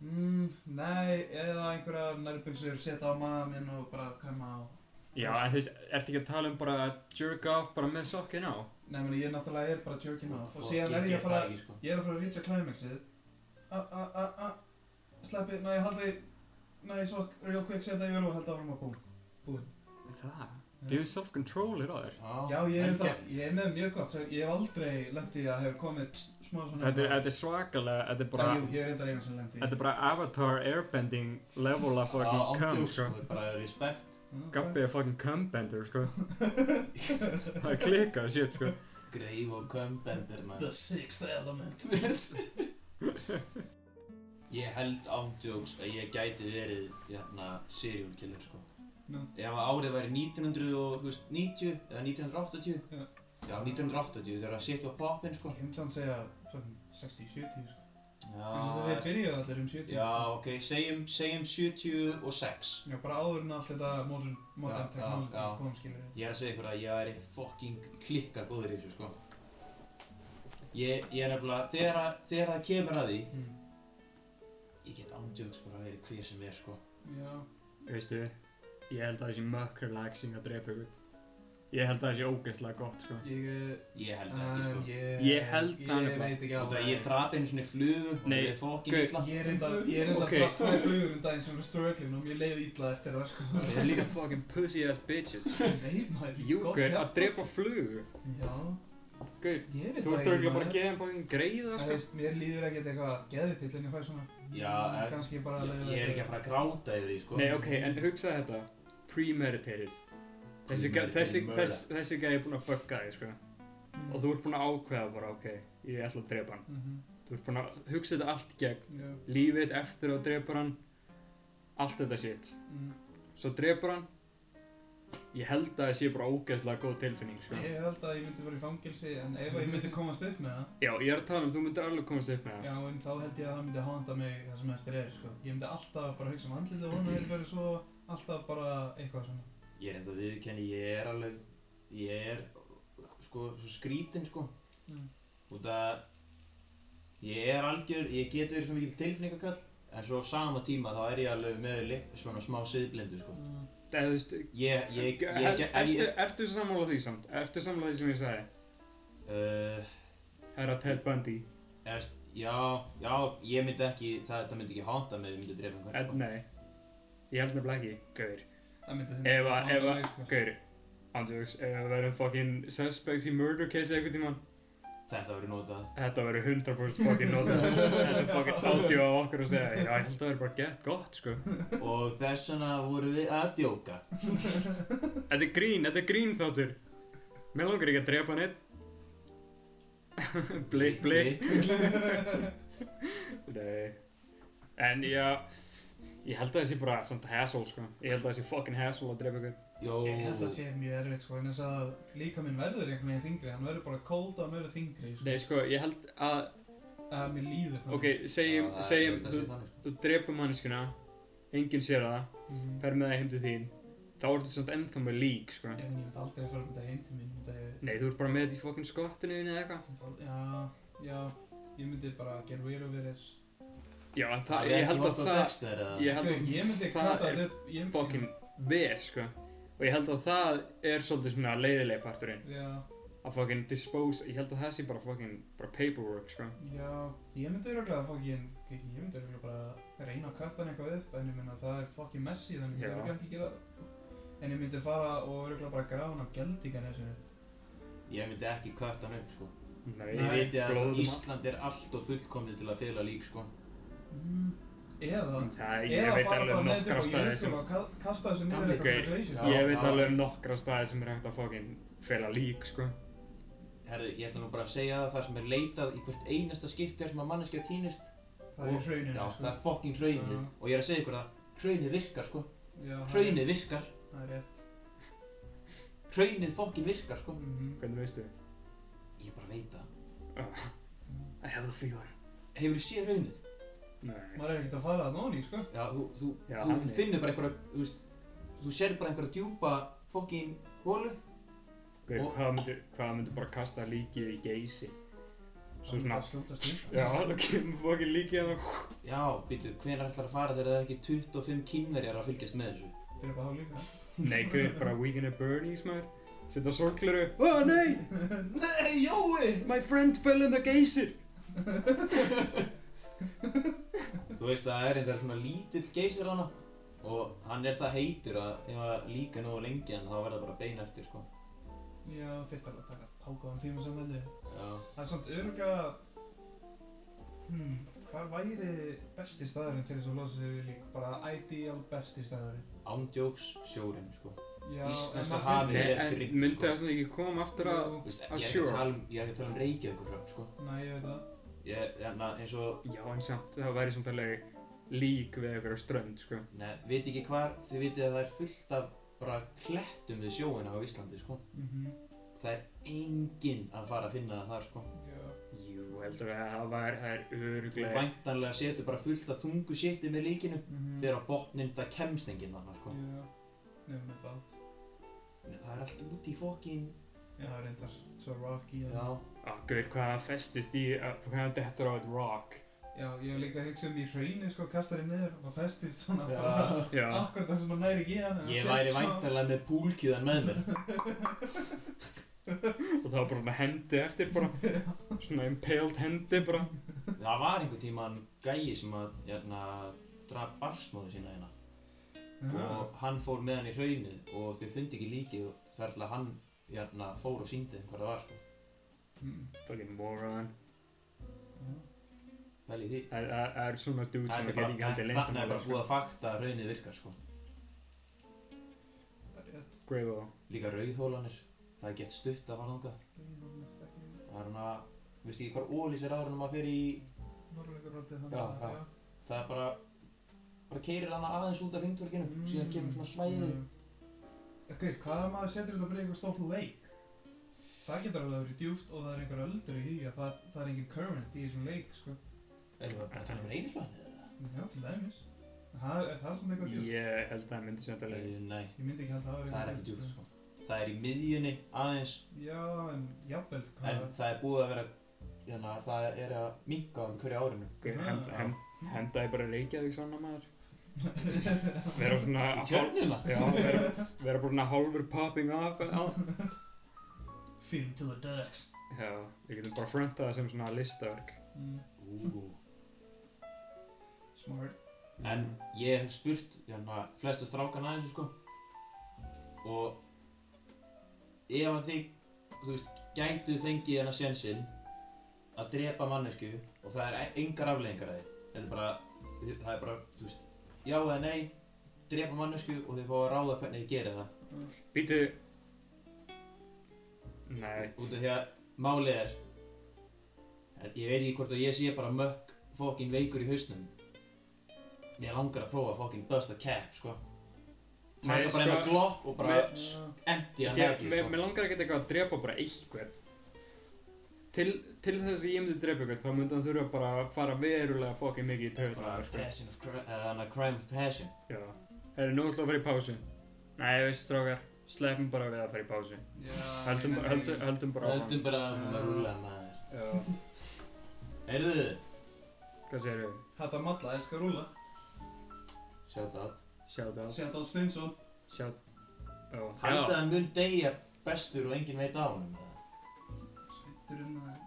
Mm, nei, eða einhverja nærbuxur setja á maður minn og bara koma á
Já, en þú veist, ertu ekki að tala um bara að jerk off bara með sokkin á?
Nei, meni, ég náttúrulega er bara jerkin á og síðan er ég að fara
sko.
ég er að fara að reacha climaxið a a a a sleppi, næ, ég haldi næ, ég sokk, real quick, setja yfir og halda áfram og búm búin
Það?
Já.
Do self-control er á þér?
Já, ég er, það, ég er með mjög gott, svo ég hef aldrei lent í að hefur komið tss, smá svona
Þetta er, þetta er svakalega, þetta er bara,
Já, jú, ég er reyndar einu sem lent í
þetta er bara avatar airbending level af fucking cum,
Ándjóks,
sko.
sko, bara respekt,
Mm,
Gabbi er fucking cumbender, sko. Það er klikkað, shit, sko.
greif og kömbendir, maður.
The sixth element
sko.
Ég held ándjóks að ég gæti verið, hérna, serial killer, sko.
Nú.
Ef að árið væri 1990 eða 1980,
Já.
já, 1980 þegar að shit var poppin, sko.
Ég myndi að segja fucking 60-70 sko.
Já,
Eins og þeir byrjuðu allir um 70
já,
sko.
ok, segjum, segjum 76.
Já, bara áður en allt þetta modern, modern
Já,
technology
já, já.
kom skilur við
Ég er að segja ykkur að ég er fucking klikka góður í þessu sko Ég, ég er nefnilega, þegar, að- þegar það kemur að því
mm.
Ég get ándjögs bara verið hver sem er sko
Já,
Veistu, ég held að það sé mökk relaxing að drepa ykkur. Ég held að það sé ógeðslega gott, sko.
ég
Ég held
Ah,
það ekki sko
Æ, ég,
Ég held það
Ég
nefnilega.
veit ekki
Þú veit að
alveg.
ég drap einu svona flugu og
Nei,
það er fucking
gau-
illa
Ég er reyndar, ég er reyndar
Ok.
okay. draf tvær flugur um daginn sem eru ströglin og mér leiði illa eftir það sko
Það er líka fucking pussy ass bitches.
Nei maður,
Júkur, að
gert.
drepa flugu.
Já,
Gauð,
Ég veit
þú ert
það ekki,
auðvitað bara
maður.
að gefa þeim fokkin greið
Það
sko.
veist, mér líður ekkert eitthvað geðið til en ég fæ svona
Já, eh,
kannski bara
ég, ég er ekki að fara að gráta yfir því, sko.
Nei, ok, en hugsa þetta Premeditated Þessi, gæ-
Premeditated
þessi,
murder.
þess, þessi gæði er búinn að fucka þig, sko Og þú ert búinn að ákveða bara, ok, ég ætla að drepa hann Þú ert búinn að hugsa þetta allt í gegn
Mhm, Já,
Lífið eftir að þú drepar hann Allt þetta shit
mm.
Svo drepar hann Ég held að það sé bara ógeðslega góð tilfinning, sko
Ég held að ég myndi fara í fangilsi en ef að ég myndi komast upp með það
Já, ég er að tala um, þú myndir alveg komast upp með
Já,
það
en þá held ég að það myndi handa mig það sem eftir er, sko Ég myndi alltaf bara hugsa um andlitið og hana er verið svo alltaf bara eitthvað svona
Ég er enda að viðkenni, ég er alveg, ég er, sko, svo skrítinn, sko.
Mm.
Út að ég er algjör, ég get verið svo mikil tilfinningakall, en svo á sama tíma þá er ég alveg með li- svona smá siðblindu, sko.
mm.
Eða, þú veist,
Ég, ég, ég,
er,
ég,
ertu,
ég,
ertu sammála því samt? Ertu sammála því sem ég sagði?
uh,
Herra Ted Bundy
efst, já, já, ég myndi ekki, það, það myndi ekki handa mig, ég myndi drepa einhvern,
En
sko.
nei, ég held nefnilega ekki, gaur,
Það myndi
Ef að-
handa
ef að-
mig, sko
gaur, andjóks, ef við verðum fucking suspects í murder case eitthvað tímann,
Þetta verður notað.
þetta verður 100% fucking nota, þetta er fucking audio á okkur að segja, já, ég held að það verður bara gett gott, sko.
Og þess vegna vorum við að djóka.
Þetta er grín, þetta er grín þáttur, mér langar ekki að drepa neitt, blik, blik, nei, en já, ég held að það sé bara samt hassle, sko, ég held að það sé fucking hassle að drepa eitthvað,
Jó.
Ég held að það sé mjög erfitt, sko, en þess að líka minn verður einhvern veginn þingri Hann verður bara cold og hann verður þingri, sko
nei, sko, ég held að,
Að mér líður það
ok, segjum,
Já, það er- ég
segjum,
held að
þú
sé þannig, sko.
þú drepur manneskuna, enginn sér það,
Mhm.
fer með það heim til þín, þá ertu samt ennþá með lík, sko.
Ég myndi aldrei fara með þetta heim til mín, myndi ég
Nei, þú ert bara með þetta í fokkinn skottinu eða eitthvað.
Já, já, ég myndi bara get rid of it as
Já, en það,
Hafið
ég
ekki
held
horft
að
á
það,
Dexter, eða?
ég held
Gau, Ég myndi
að
kata þetta
það er
upp ég myndi-
fokkinn veð, sko. Og ég held að það er svolítið svona leiðilegi parturinn.
Já,
Að fokkinn dispose, ég held að það sé bara fokkinn, bara paperwork, sko.
já, ég myndi örgulega fokkin Ég myndi örgulega bara reyna að kata hann eitthvað upp En ég minna það er fokkin messy þannig ég myndi
Já.
örgulega ekki gera það En ég myndi fara og örgulega bara grána á geldinganesinu
Ég myndi ekki kött hann upp, sko.
Nei,
Ég veit ég að það-
blóðum allt.
Ísland er allt og fullkomni til að fela lík, sko.
mm. Eða
Það, ég
Eða
veit
fara
alveg
bara
um
með
nokkra
þetta upp á
staði sem,
jökul og ka- kasta þessu niður
Gamli
eitthvað
gaur.
svona glacier
Já,
ég veit
það-
alveg um nokkra staði sem er hægt að fokkinn fela lík, sko.
Herðu, ég ætla nú bara að segja það, það sem er leitað í hvert einasta skipti sem að manneskja týnist.
Það er í
Og- Já,
hrauninu sko.
það er fokkin hraunið.
Já.
Og ég er að segja ykkur það, hraunið virkar, sko.
Já, það er-
Hraunið virkar.
það er rétt
Hraunið fokkin virkar, sko.
Mhm.
Hvernig veistu?
Ég bara veit það.
Mhm.
I have a feeling.
Hefur þú séð hraunið?
Nei.
Maður er ekkert að fara að nóni, sko
Já, þú, þú,
Já,
þú
þannig.
finnur bara einhverja, þú veist, þú sér bara einhverja djúpa fokkin hólu.
Gauð,
Og-
hvað myndir, hvað myndir bara kasta líkið í geysi? Svo svona-
Það skjótast upp
Já, það kemur fokkin líkið að það.
Já, býtu, hvenær ætlar að fara þegar það er ekki 25 kínverjar að fylgjast með þessu?
Drepa þá líka
Nei, gauð, bara Weekend at Bernie's maður. Setta sorgleru. Oh, nei!
Nei, Jói!
My friend fell in the geysir!
Þú veist að það er einhver svona lítill geysir hana og hann er það heitur að ef að líka nógu lengi en þá verða bara bein eftir, sko.
Já, þurfti alveg að taka tákaðan tíma sem þetta
Já,
Það er samt öruglega Hmm, hvar væri besti staðurinn til þess að losa sig við lík? Bara ideal besti staðurinn
ándjóks sjórinn, sko.
Já,
Íslenska
en maður
hafið.
Nei,
fyndi-
er
en
grimmt,
myndi
sko.
það svona ekki koma aftur að...
Jú,
Þú veist,
Ah,
ég er ekki
sure.
að tala um, ég er ekki að tala um Reykjavíkur hrapp, sko.
Nei, ég veit það
Ég, hérna, eins og,
Já, en samt, það væri samt alveg lík við einhverja strönd, sko.
neð, veit ekki hvar, þið vitið að það er fullt af bara klettum við sjóina á Íslandi, sko.
Mhm,
Það er enginn að fara að finna það þar sko.
já
Jú, heldur að það væri, það er
Þú
öruglega...
væntanlega setur bara fullt af þungu sétti með líkinu
mhm,
þegar á botnin það kemst enginn þarna sko.
Já, nefnum með bát
Nei, Það er allt út í fokkin.
Já, reyndar, svo Rocky
Já.
Á, gauð, Ah, hvað það festist í... að- Hvað það dettur á eitt rock.
Já, ég hef líka hugsað um í hraunið, sko, kastar þér niður og festir svona
Já.
bara
Já.
Akkurat það sem maður næri ekki í hann en það
Ég
sést sko.
væri
svona-
væntanlega með púlkjöðan með mér.
Og það var bara með hendi eftir bara Svona impaled hendi bara
Það var einhver tíma hann gæi sem að hérna, draf barsmóðu sína hérna
Já.
og hann fór með hann í hraunið og þau fundi ekki líkið þar til að hann hérna, fór og síndi þeim hvað það var sko.
Mm.
Fucking moron.
Já.
Pæli í því.
Það það- það eru svona dudes sem
Þetta er
geta
bara,
ekki haldið um
þarna er bara
leyndamál.
búið að fakta að raunnið virkar sko.
Það er rétt.
Greyvó.
Líka rauðhólanir, það er gett stutt af hann þangað.
Rauðhólanir þekki ég.
Það er hana, veist ekki hvar ólís er áður en maður fer í,
Norrlækarvaldið
Já,
þannig
já. það er bara, bara keirir hana aðeins út af hringtorkinu,
Mm.
síðan kemur svona svæði.
Ekkur, hvað ef Mm. maður setur þetta bara í eitthvað stórt leik? Það getur alveg að vera djúft og það er einhver öldur í því að það, það er engin current í þessum leik, sko.
Erum við bara að tala um reynisvæðið eða?
Já, til dæmis. En Það er, er það sem eitthvað djúft.
Ég held að það myndi sem þetta leið.
Eh, Nei,
Ég myndi ekki halda að
það er ekki djúpt sko. Það er í miðjunni aðeins,
Já, en jafnvel,
en
hvað?
það er búið að vera, hérna, það er að minka um hverju árinu.
Hend- hend-
Ah.
Já.
hend- Hendaði bara Reykjavík saman maður. Vera svona...
Í tjörnina?
Já, vera, vera bara svona hálfur popping off eða allt.
Film to the ducks.
Já, við getum bara frontað það sem svona listaverk.
Mm.
Ú.
Smart.
En ég hef spurt, hérna, flesta strákan aðeins sko. Og ef að þið, þú veist, gætu fengið hérna sjensinn að drepa mannesku og það er e- engar afleggingar að þið. Þetta er bara, það er bara, þú veist, já eða nei, drepa mannesku og þið fá að ráða hvernig þið gerir það.
Býtu... Nei.
Út af því að málið er að Ég veit ekki hvort að ég sé bara mökk fokkin veikur í hausnum Mér langar að prófa fokkin bust a cap, sko
Nei,
Taka bara eina
sko,
glopp og bara
með-
s-
Já.
empty hann ekki,
Mér
sko
mér langar að geta eitthvað að drepa bara einhvern. Til, til þess að ég myndi drepa eitthvað þá myndi hann þurfa bara að fara verulega fokkin mikið í
Bara
taugarnar, sko.
passion of crime, eða hann að crime of passion
Já. Það er nú ætlum við að fara í pásu. Nei, veist strákar, sleppum bara við að fara í pásu.
Já,
Höldum,
ég nenni
höldum,
ekki.
höldum bara á
Höldum bara að
Já.
maður rúla maður
Já.
Heyrðu,
Hvað segir við?
Þetta matla, elskar rúla.
shout out
Shout out.
Sjátt á Stinsson.
Shout... Já.
Haldið
Já.
að hann mun deyja bestur og enginn veit á honum eða?
Sveitur um að...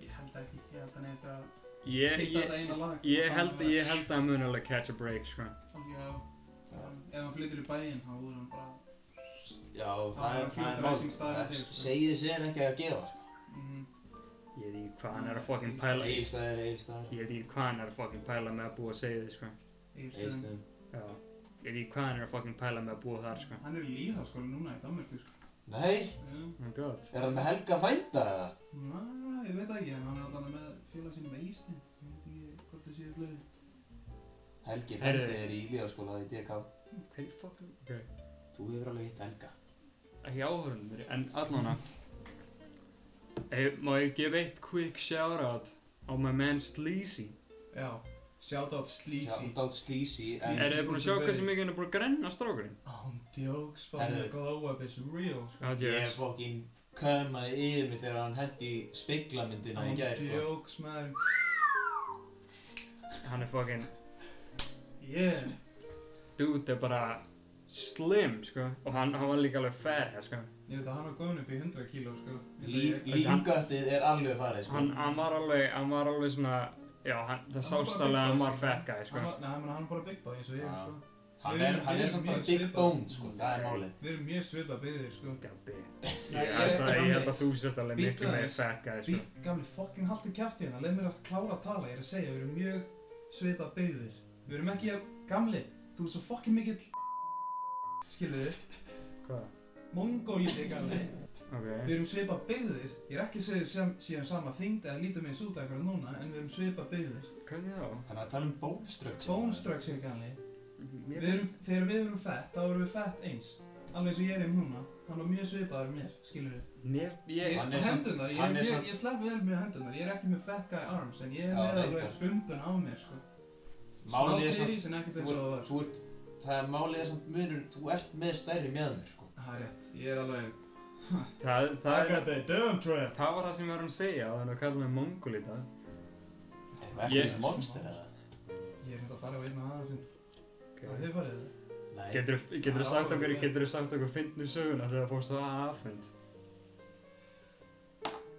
Ég held ekki, ég held hann eftir að
Ég,
hitta
ég,
þetta eina lag.
ég held, ég held að hann mun alveg catch a break, sko.
Já, um, ef hann flyttir í bæinn, þá voru hann bara...
Já, það
Það
er,
er
það er
future racing staðar
mál
til, sko.
Segið sér ekki að gefa, sko
Mm,
Ég veit ekki hvað hann er að fucking pæla í.
Egilstaðir, Egilstaðir
Ég veit ekki hvað hann er að fucking pæla með að búa að segja þið, sko.
Egilstöðum.
Egilstaðir
Já. Ég veit ekki hvað hann er að fucking pæla með að búa þar, sko.
Hann er í líðháskóla núna í Danmörku, sko.
Nei,
Já.
Oh my god.
er hann með Helga frænda eða?
Næ, ég veit það ekki, en hann er alltaf með félag sinni með Ístin. Ég veit ekki hvort það séu fleiri.
Helgi
Heyrðu.
frændi er í líðaskóla í DK.
Hver fucking... Ok.
Þú hefur alveg hitt Helga.
Ekki áhörundur, en allan að... Hey, má ég gefa eitt quick shoutout á my man Sleazy?
Já. Shoutout Sleazy.
Shoutout Sleazy.
Sleazy.
en-
Er þið búin að sjá hversu mikið hann er búin að grenna strákurinn?
Án djóks, fann
Herðu.
ég glow up is real, sko.
Já,
Ég
yes.
fokkin kömaði yfir mig þegar hann hendi speglamyndina í
Án
gær, sko.
djóks, maður.
Hann er fucking...
Yeah.
Dude er bara slim, sko. Og hann, hann var líka alveg fat, sko.
Ég veit að hann var góðin upp í 100 kíló, sko. Eins og ég-
Língöttið er alveg farið, sko.
Hann, hann var alveg, hann var alveg svona... Já, hann, það
Hann var
sást
bara
alveg að hann
big boy,
var fat guy, sko.
Hann var, nei, menn hann er bara big boy eins og ég,
Já.
sko.
Hann
Við
er,
erum-
hann
við
er
erum
samt
mjög
bara big
svipað.
bone, sko. Það er málið.
Við erum mjög svipa byggðir, sko.
Gabbi.
Nei,
Ég held að, ég held að þú sért alveg
Bíddu
miklu meira
aðeins.
fat guy,
Bí,
sko.
gamli, fokkin haltu kæfti hérna, leið mér að klára að tala, ég er að segja, við erum mjög svipa byggðir. Við erum ekki að, gamli, þú er svo fokkin mikill skilu þið,
Hvað?
mongólítið, gamli. Við
Ok.
erum svipa byggðir, ég er ekki að segja sem, síðan sama þyngd eða lítum eins út eitthvað núna, en við erum svipa byggðir.
Hvernig þá?
Hann er að tala um bone structure.
Bone structure, gamli,
Mér-
við erum, þegar við erum fett, þá erum við fett eins. Alveg eins og ég er um núna, hann var mjög svipaður um mér, skilur
Mér, ég...
Hann
Ég,
er samt-
hendunar, ég,
hann er
ég,
samt-
ég slepp vel með hendunar, ég er ekki með fat guy arms en ég er
Já,
með
reyndar.
alveg bumbun á mér sko Smá
Málið er samt,
tyrís en ekkert
þú
eins og það
ert,
var
þú ert, það er málið er samt munur, þú ert með stærri meðanur, sko.
Það er rétt, ég er alveg
Það, það er...
that dumb trap
Það var það sem ég var að segja, að hann var að kalla mig mongolita.
Er þú eftir
Ég-
þessu monster eða?
Ég er hérna að fara á einn að aða fund Það
Okay.
þið farið það?
Nei.
Getur þú
Já,
sagt okkur,
ok.
getur þú sagt okkur fyndnu söguna þegar fórst það aðfund?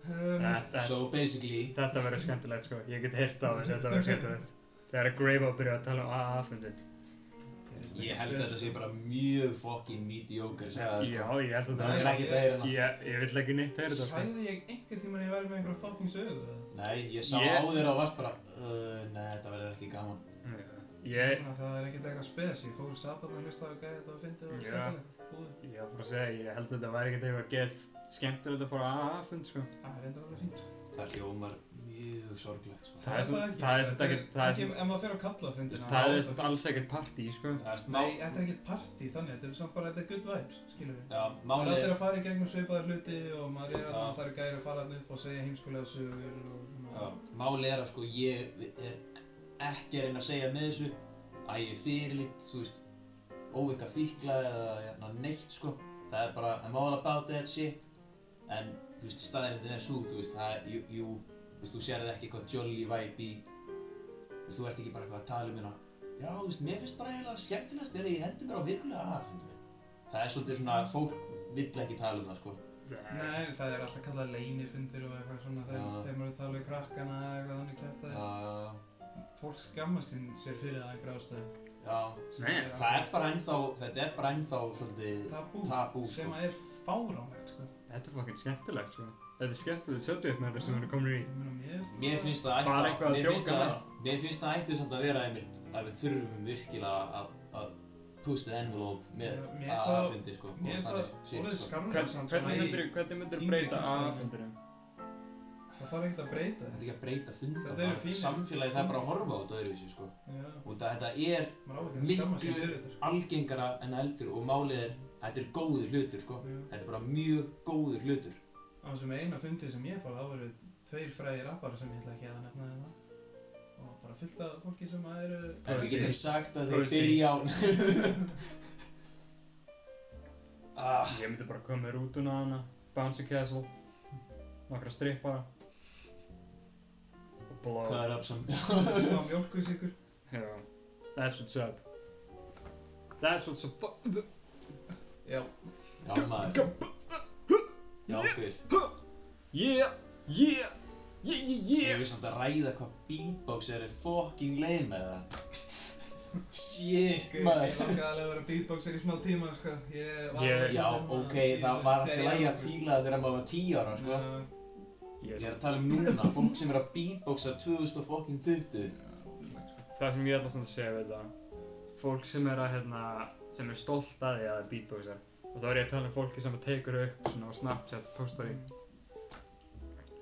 Um,
Þetta,
So basically,
Þetta verður skemmtilegt sko, ég get hirt á þess, þetta verður skemmtilegt. Þegar Grave á byrja að tala um AA-fundin.
ég er finnst
Ég held að þetta sé bara mjög fokkin mediocre segja það
Já,
sko.
ég held að
Það er
það
ekki dæri hana.
Ég, ég vil ekki hérna. neitt heyra þetta sko.
Sæði ég einhvern tímann að ég væri með einhverja fucking sögu eða?
Nei, ég sá
Ég-
á þér á vast bara, uh, nei þetta verður ekki gaman.
Ég,
Þannig að Það er ekkert eitthvað spes, ég fór satan að hlusta á gæði þetta og fyndi og
Já.
skemmtilegt búið.
ég var bara að segja, ég held að þetta væri ekkert eitthvað gett skemmtilegt að fara að fund sko.
Það er reyndar alveg fínt sko.
Það hljómar mjög sorglegt sko.
Það er sem- það er sem
Þetta
ekkert- það er sem-
ekki- Ef maður fer á kalla fyndina.
Það er samt alls ekkert partí sko.
Það er smá,
Nei, þetta er ekkert partí þannig, þetta er samt bara, þetta er good vibes, skilur við.
já,
Maður er
málið,
allir að fara í gegnum svipaðar hluti og maður er
Já.
að það eru gæri að fara þarna upp og segja heimskulega sögur og
já, málið er að sko ég er ekki að reyna að segja með þessu að ég er fyrirlitt, þú veist, óvirka fíkla eða jæna, neitt sko. Það er bara, I'm all about that shit. En, þú veist, staðirindin er svo, þú veist, það er, jú, jú, þú veist, þú sér ekki eitthvað jolly vibe í, þú veist, þú ert ekki bara eitthvað að tala um hérna, já, þú veist, mér finnst bara eiginlega skemmtilegast þegar ég hendi mér á vikulega að, fundum við. Það er svolítið svona, fólk vill ekki tala um það, sko.
Nei, það er alltaf kallað leinifundir og eitthvað svona þegar
Já.
þegar maður er að tala við krakkana eða eitthvað þannig kæft að
Já,
fólk skammast sín sér fyrir það einhver ástæðu.
já.
Nei,
Það er bara ennþá, þetta er bara ennþá svolítið
tabú,
tabú,
sem
sko.
að er fáránlegt sko.
Þetta er fucking skemmtilegt sko. Þetta er skemmtilegt subject matter sem við erum komin í.
Ég meina, mér finnst
Mér finnst það ætti
Bara eitthvað að
mér finnst
djóka
það-
með.
Mér finnst það ætti samt að vera einmitt að við þurfum virkilega að, að push the envelope með
Já, mér finnst það-
aðfundi, sko. og
Mér finnst það
þannig shit,
orðið
sko.
Hvern-
skarnarsamt svona
Hvernig
í-
myndir, hvernig myndir
yngri
breyta
kynslóðinni.
aðfundunum?
Það þarf ekkert að breyta
Það er
það.
ekki að breyta funda,
Þetta
það
eru
er
fínir-
samfélagið, það er bara að horfa á þetta öðruvísi, sko.
Já,
Og það, þetta er
maður á ekki að skamma sig
Miklu-
fyrir þetta sko.
algengara en eldur og málið er, þetta er góður hlutur, sko.
Já.
Þetta er bara mjög góður hlutur.
Á þessum eina fundi sem ég fór, þá voru tveir fræði rappar sem ég ætla ekki að nefna þetta. Og bara fullt af fólki sem að eru...
En við
Pussy.
getum sagt að þeir
Pussy.
byrja á... ah,
Ég myndi bara koma með rútuna hana, bouncy castle, nokkra strippara og blow.
cut up some...
Smá mjölkusikur.
Já, that's what's up. That's what's up.
Já,
Já, maður. Já, fyrr.
Yeah, yeah, yeah, yeah,
Ég
yeah.
veist samt að ræða hvað beatbox er er fucking lame með það. Shit,
Ég
maður.
langaði alveg að vera beatboxer í smá tíma, sko. Ég var... hérna
Ég-
Já, ok, það var alltaf lægi að fíla það þegar maður var 10 ára, sko.
Ég,
Ég er að tala um núna, fólk sem er að beatboxa 2020.
það sem ég ætla svona að segja við þetta, fólk sem er að, hérna, sem er stolt að því að það er beatboxar og þá er ég að tala um fólki sem tekur upp svona á Snapchat, postar í,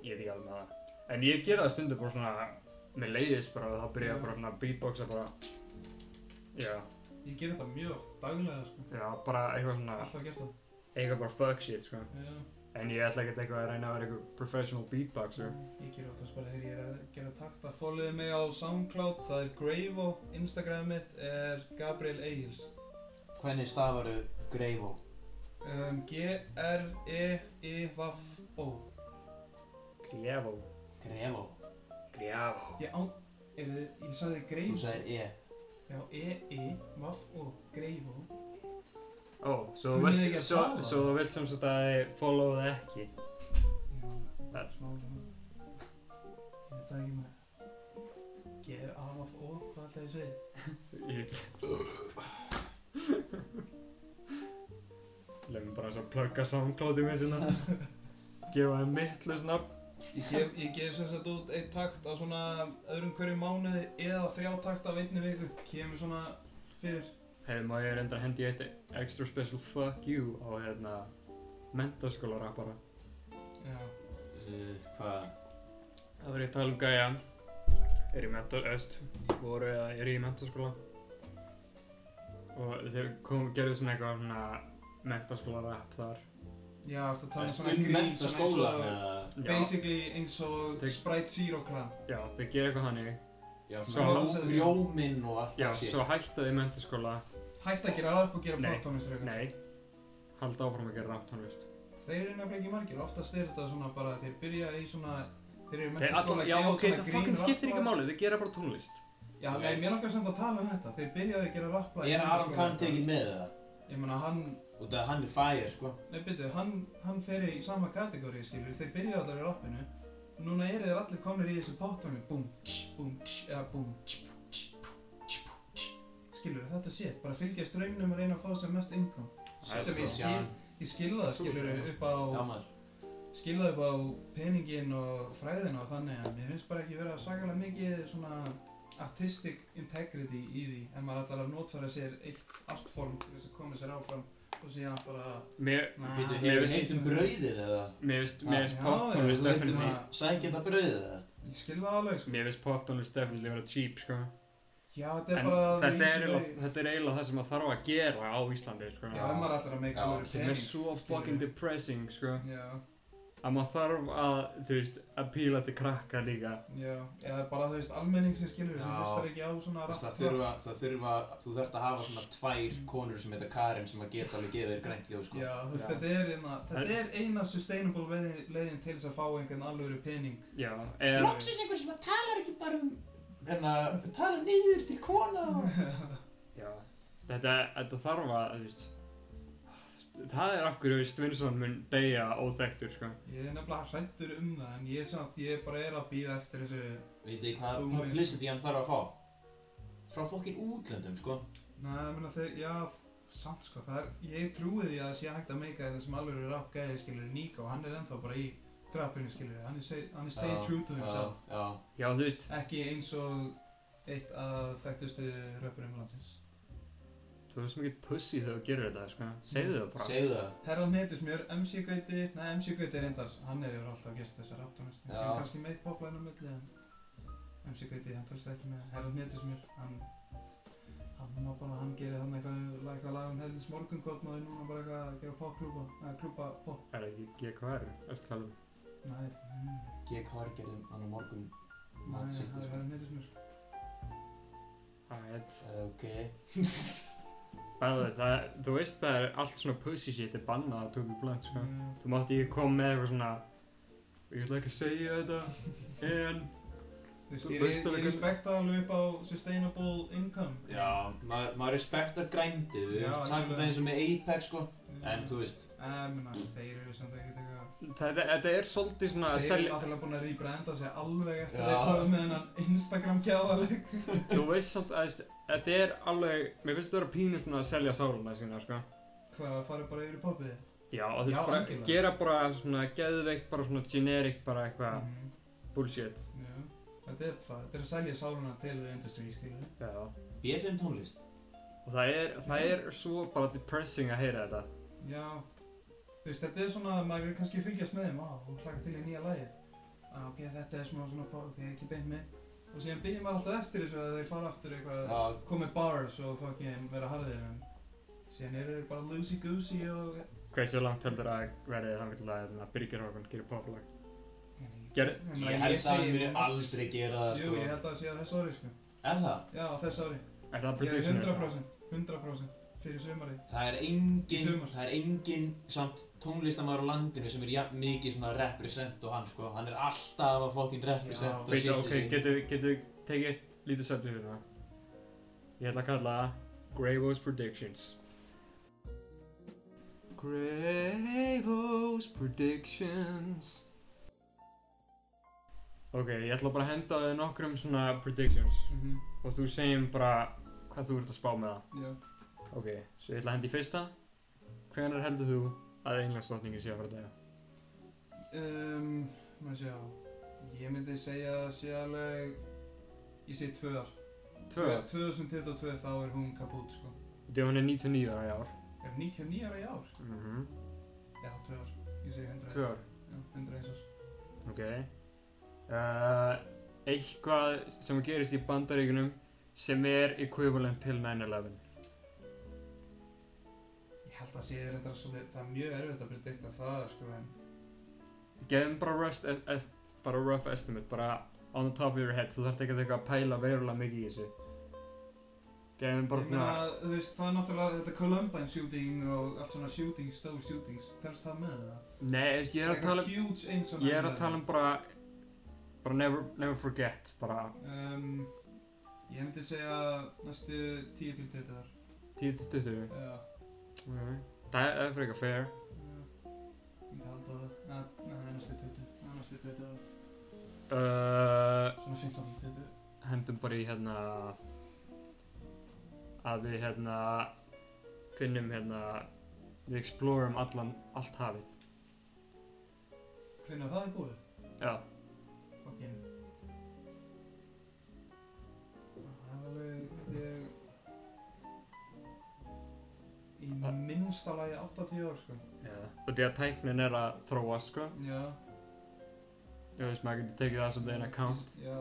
ég veit ekki alveg með það en ég gera það stundum bara svona með leiðis bara og þá byrja ég bara svona að beatboxa bara já,
Ég ger þetta mjög oft, daglega, sko.
já, bara eitthvað svona
Alltaf gert það.
eitthvað bara fuck shit, sko
Já.
en ég ætla ekkert eitthvað að reyna að vera eitthvað professional beatboxer
Ég ger oftast bara þegar ég er að gera takta. Fóliði mig á SoundCloud, það er Gravo, Instagram mitt er Gabriel Egils.
Hvernig stafaru Greifó?
Um, E, G-R-E-I-V-O.
Grefó,
Greifó?
grefó
Ég á... Er þið... Ég sagði
Þú
Gravo.
sagðir E.
Já, E, E-I-V-O. Gravo.
ó, svo þú
Kunnið
vilt-
þið ekki að
svo-
tala?
svo þú vilt sem sagt að þið follow það ekki
Já, þetta
Það-
er smá svona. Ég veit það ekki maður. G-R-A-V-O, hvað alltaf ég segi?
Ég Leif mér bara eins að plugga SoundCloud í mitt hérna Gefa þeim mittlust nafn
Ég gef, ég gef sem sagt út eitt takt á svona öðrum hverju mánuði eða þrjá takt af einni viku kemur svona fyrir
Hefði má Hérna, ég reyndar hendi í eitt extra special fuck you á hérna mentaskóla rappara
Já,
Uh, hvað?
Það var ég að tala um gæja Er í mental öst voru eða er í mentaskóla og þeir kom, gerðu svona eitthvað svona mentaskóla rapp þar
já, ertu að tala um
Það
svona
er
grín
menta
svona eins
skóla
og basically eins og
Tek-
Sprite Zero Clan
Já, þeir gera eitthvað þannig
Já,
Svo-
svona rjó- rjóminn og allt
Já,
það shit.
svo hættaði mentaskóla
Hætt að gera rap og gera
Nei.
poptónist eitthvað
Nei, halda áfram að gera rapptónlist
Þeir eru nefnilega ekki margir, oftast er þetta svona bara þeir byrja í svona þeir eru
Þeir
með
allan,
skóla
já ok, það fucking skiptir ekki
rapplag.
máli, þau gera bara tónlist
Já, nei, mér langar samt að tala um þetta þeir byrjaði að gera rap
Er Aron Kahn tekinn með það?
Ég meina, hann,
Og það hann er fire, sko.
nei, byrju, hann, hann fer í sama kategóri, skilur þeir byrjaði allar í rappinu Núna eru þeir allir komnir í þessu poptónu Búm, tss, búm, tss, eða búm, tss, búm, tss, búm, tss, búm, tss. skilur þetta shit, bara fylgja straunum og reyna að fá sem mest income
Það er
sem ég
bara-
skil, ég skilða það
Þú-
skilur upp á
Já maður
skilða upp á peningin og fræðin og þannig en mér finnst bara ekki vera svakalega mikið svona artistic integrity í því en maður ætlar að notfæra sér eitt artform til þess að koma sér áfram og síðan bara
Mér
Nah.
Býtu,
ég
hefur
veist-
heitt um brauðið eða?
mér finnst
Ah,
mér finnst
já,
poptónlist
já, þú
Heitt um
definitely
veitir
sækja þetta brauðið eða?
ég skilða það alveg sko
Mér finnst poptónlist definitely vera cheap sko
já þetta
En
er bara the
þetta er,
easy
eiginlega,
way.
þetta er eiginlega það sem maður þarf að gera á Íslandi sko
já ef maður ætlar að
Já,
make alveg
Sem er
pening
svo fucking depressing sko
já
Að maður þarf að, þú veist, appeala til krakka líka
já eða bara þú veist almenning sem skilur sem
Já.
hlustar ekki á svona
Þú veist, Það
rap
þurfa, það þurfa, þú þurft að hafa svona tvær konur sem heita Karin sem að geta alveg gefið þér grænt ljóð sko
Já, þú veist,
Já.
þetta er, einna, þetta er eina sustainable veiði- leiðin til þess að fá einhvern alvöru pening
Já, eða
einhver sem að talar ekki bara um hérna, tala niður til kona
Já, þetta, þetta þarf að, þú veist Það er af hverju Stvinsson mun deyja óþektur sko
Ég er nefnilega hrættur um það en ég samt, ég bara er að býða eftir þessu
Vitið þið hvað
Þú meinar.
publicity hann þarf að fá? Frá fokkin útlöndum sko
Nei, ég meina þegar, já, samt sko, það er, ég trúi því að það sé hægt að meika þetta sem alveg eru rap gæði, skilur, Nico, hann er ennþá bara í trappinu, skilur, hann er, se- hann er stay
Já,
true to
Já,
himself,
já
Já, þú veist,
ekki eins og eitt af þekktustu röpurum landsins.
þú veist mikið pussy þegar þú gerir þetta sko Segðu það bara
Segðu það
Herald Netusmjör, MC Gauti, nei, MC Gauti er reyndar, hann er yfir alltaf gert þessa raptónist, hann
Já.
kemur kannski meitt poplæðin á milli, en MC Gauti, hann tölst ekki með, Herald Netusmjör, hann, hann má bara, hann gerir þannig eitthvað, eitthvað lag um helðins morgungotn og er núna bara eitthvað að gera popklúpa, eða klúpa pop,
Er það ekki GKR, ertu talað um
nei, þetta- nei, nei,
Gekk hargerðum hann á morgun
nei,
Matsýttu,
það
sko.
er Herald Netusmjör,
Alright
Segðu, Eh, Ok
Bæði, það, þú veist það er allt svona pussy shit er bannað að tóku blant, sko.
Já.
Þú mátt ekki koma með eitthvað svona, ég ætla ekki að segja þetta, en...
þú veist,
Þú
ég, ég,
veist alveg
ég
hvernig-
respekta alveg upp á sustainable income,
Já, maður, maður respektar grændið Við
Já,
höfum sagt
algjörlega.
þetta eins og með Apex sko En þú veist
Eh, meina, þeir eru samt ekkert eitthvað
Þetta, þetta er svolítið svona að
Þeir eru
selja,
náttúrulega búin að rebranda sig alveg eftir
Já.
þeir komið með hennan Instagram kjáðaleg
þú veist samt að þú veist, þetta er alveg, mér finnst þetta vera pínu svona að selja sáruna sína, sko.
Hvað, farið bara yfir í poppið?
Já, og þú
Já,
veist, bara,
algjörlega.
gera bara svona geðveikt, bara svona generic, bara eitthvað
Mhm,
bullshit.
Já Þetta er það, þetta er að selja sáluna til the industry, skilur við
Já.
B5 tónlist
Og það er, það er svo bara depressing að heyra þetta.
Já Þú veist, þetta er svona, maður er kannski að fylgjast með þeim, á, og hlaka til í nýja lagið ah, Ok, þetta er smá svona, pop, ok, ekki beint mitt Og síðan byrjum maður alltaf eftir þessu að þeir fara aftur eitthvað
Já,
Komið bars og fucking vera harðir en Síðan eru þeir bara loosey-goosey og
Hversu langt heldur að verði þannig til að hérna, Birgir Horgan gerir poplag?
Ég,
Gerð-
meina,
ég held að
segi-
hann muni aldrei gera það
Jú,
sko
ég held að það sé á þessu ári, sko
Er það?
Já, á þessu ári
Er
Ég
það
er
prediction?
100%, 100% fyrir sumarið.
Það er engin,
Í sumar.
það er engin samt tónlistamæður á landinu sem er jafn mikið svona represent og hann sko Hann er alltaf að fokkin represent
Já.
og
Veitu,
setja
ok,
sig.
getur getu tekið eitt lítið söfni fyrir það? Ég ætla að kalla það Gravo's Predictions. Gravo's Predictions. Ok, ég ætla bara að henda þau nokkrum svona predictions
Mm -hmm.
og þú segjum bara hvað þú ert að spá með það.
Já.
Ok, svo ég ætla að henda í fyrsta. Hvenær heldur þú að englandsdrottningin sé að fara að dæja?
Um, maður sjá, ég myndi segja sérleg, ég segi tvö ár.
Tvö.
2022 þá er hún kaput, sko.
Þegar hún er 99 ára í ár.
Er 99 ára í ár?
Mhm.
Já, tvö ár. Ég segi 100.
Tvö ár.
Já, 100 eins og svo.
Ok. Uh, eitthvað sem gerist í bandaríkunum sem er equivalent til 9-11.
Ég held að sé reyndar svolítið, það er mjög erfitt að predikta það, sko, en
Gefum bara, rest, e e bara rough estimate, bara on the top of your head. Þú þarft ekkert eitthvað að pæla verulega mikið í þessu. Gefum bara
Ég meina,
svona...
þú veist, það er náttúrulega þetta Columbine shooting og allt svona shooting, stóð shootings, telst það með það?
Nei, þú veist, ég er að
Eitthvað
tala um...
Huge eins og
Ég er að
9/11.
tala um bara... Bara never, never forget, bara
Um, ég myndi segja næstu 10 til 20 þar.
10-20.
Já, já.
Mm. Það það er fyrir eitthvað fair.
Ég myndi halda á það. Nei, Nei, næstu 20. Nei, næstu 20 þar.
Uh, Eh,
Svona 15 til 20.
hendum bara í hérna... að við hérna finnum hérna við explorum allan, allt hafið
Hvernig að það er búið?
já,
Fokkin Það er alveg, veit ég Í
Það-
minnsta lagi 80 ár sko
já. og því að tæknin er að þróast sko
Já
ég veist maður getur tekið það sem það er account
Já,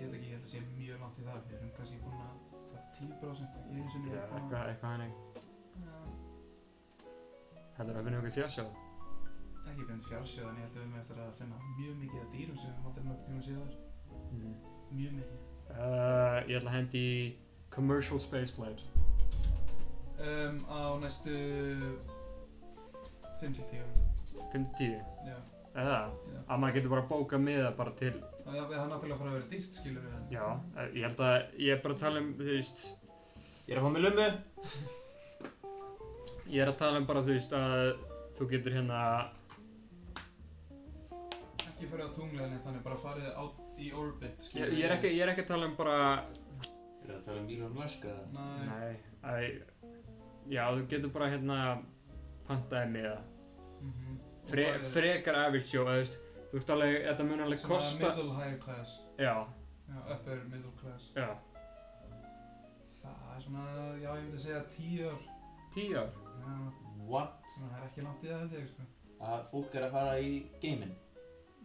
ég veit ekki, ég held að sé mjög langt í það Við erum kannski búin að, hvað, 10% ekki einu sinni
já,
er búin
eitthvað, eitthvað hannig
að
heldur að finna okkur fjársjá
Ekki beint fjársjóð, en ég held að við með eftir að finna mjög mikið af dýrum sem við mátum nokkuð tíma síðar
mm.
Mjög mikið
uh, ég ætla að hendi í commercial spaceflight
um, Á næstu 5-10 árum
5-10
Já,
eða
já
að maður getur bara að bóka miða bara til
Það það er náttúrulega að fara að vera dýrt, skilur við en
já, eh, ég held að ég er bara að tala um þú veist
Ég er að fá mig lömmu.
Ég er að tala um bara þú veist að þú getur hérna
Ekki farið á tunglega neitt, þannig bara farið á, í orbit,
ég,
skilur
ég, er ekki, ég er ekki að tala um bara
Ég er að tala um Elon Musk eða?
Nei,
Nei, að, Já, þú getur bara hérna pantaði með það
mhm Og
Fre,
farið-
Frekar average show, eða, þú veist Þú veist alveg, þetta mun alveg
svona
kosta
middle higher class
Já,
Já, upper middle class
já,
Það er svona, já ég myndi segja 10 ár
tíu ár
Já,
What?
svona það er ekki langt í það held ég sko
Að fólk er að fara í geiminn.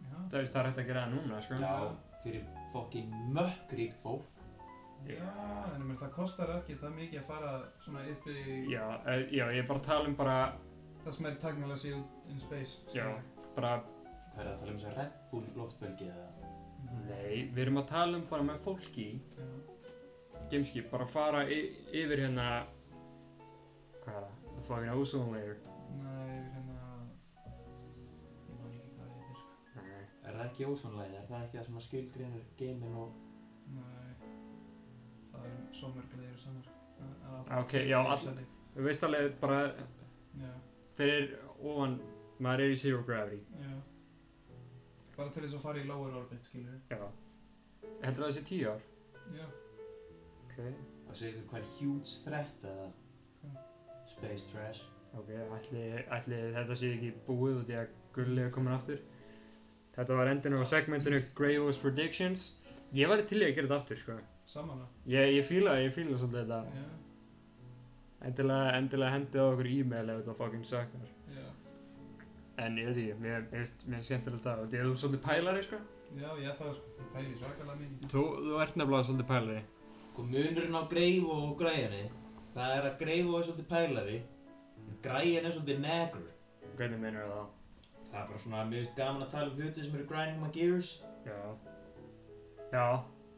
Já,
Það veist það er hægt að gera það núna, sko
Já, fyrir fokkin mökkríkt fólk.
já en ég meina það kostar ekki það mikið að fara svona upp í
Já, eh, já, ég er bara að tala um bara,
það sem er tæknilega séu in space sko. skilur
Já.
við.
bara
Hvað er það að tala um þess að Red Bull loftbelgi eða?
Nei, við erum að tala um bara með fólki í
Já,
Gameskip, bara fara y- yfir hérna Hvað er það? The fucking ozone layer
nei, hérna ég man ekki hvað það heitir sko
Nei
Er það ekki ósvonlegið? Er það ekki það sem að skilgrinur geiminn og...
Nei, það er svo mörg leiðir saman sko En- en allar-
Ah, Ok, já, all-
Sending.
Þú veist alveg bara
Já,
fyrir ofan, maður er í zero gravity.
já bara til þess að fara í lower orbit skilur við.
Já. Heldur það sé tíu ár?
Já,
Ok.
Og segir ykkur hvað er huge threat eða? Space trash.
Ok, ætli, ætli þetta sé ekki búið út í að Gulli er komin aftur. Þetta var endinu á segmentinu Gravos Predictions. Ég var til í að gera þetta aftur, sko.
saman
Ég, ég fíla, ég fíla svolítið
að
þetta.
Já,
Endilega, endilega hendið á okkur e-mail ef þetta fucking saknar.
já
En ég veit ekki, mér mér finnst, mér finnst skemmtilegt það. Þú ert svolítið pælari, sko.
Já, ég það sko, ég pæli svakalega mikið
Þú, þú ert nefnilega svolítið pælari.
Sko munurinn á greif og græjani, það er að greif og er svolítið pælari, en græjan er svolítið negr.
Hvernig meinar það?
Það er bara svona, mér finnst gaman að tala um hluti sem eru grinding my gears.
Já. Já,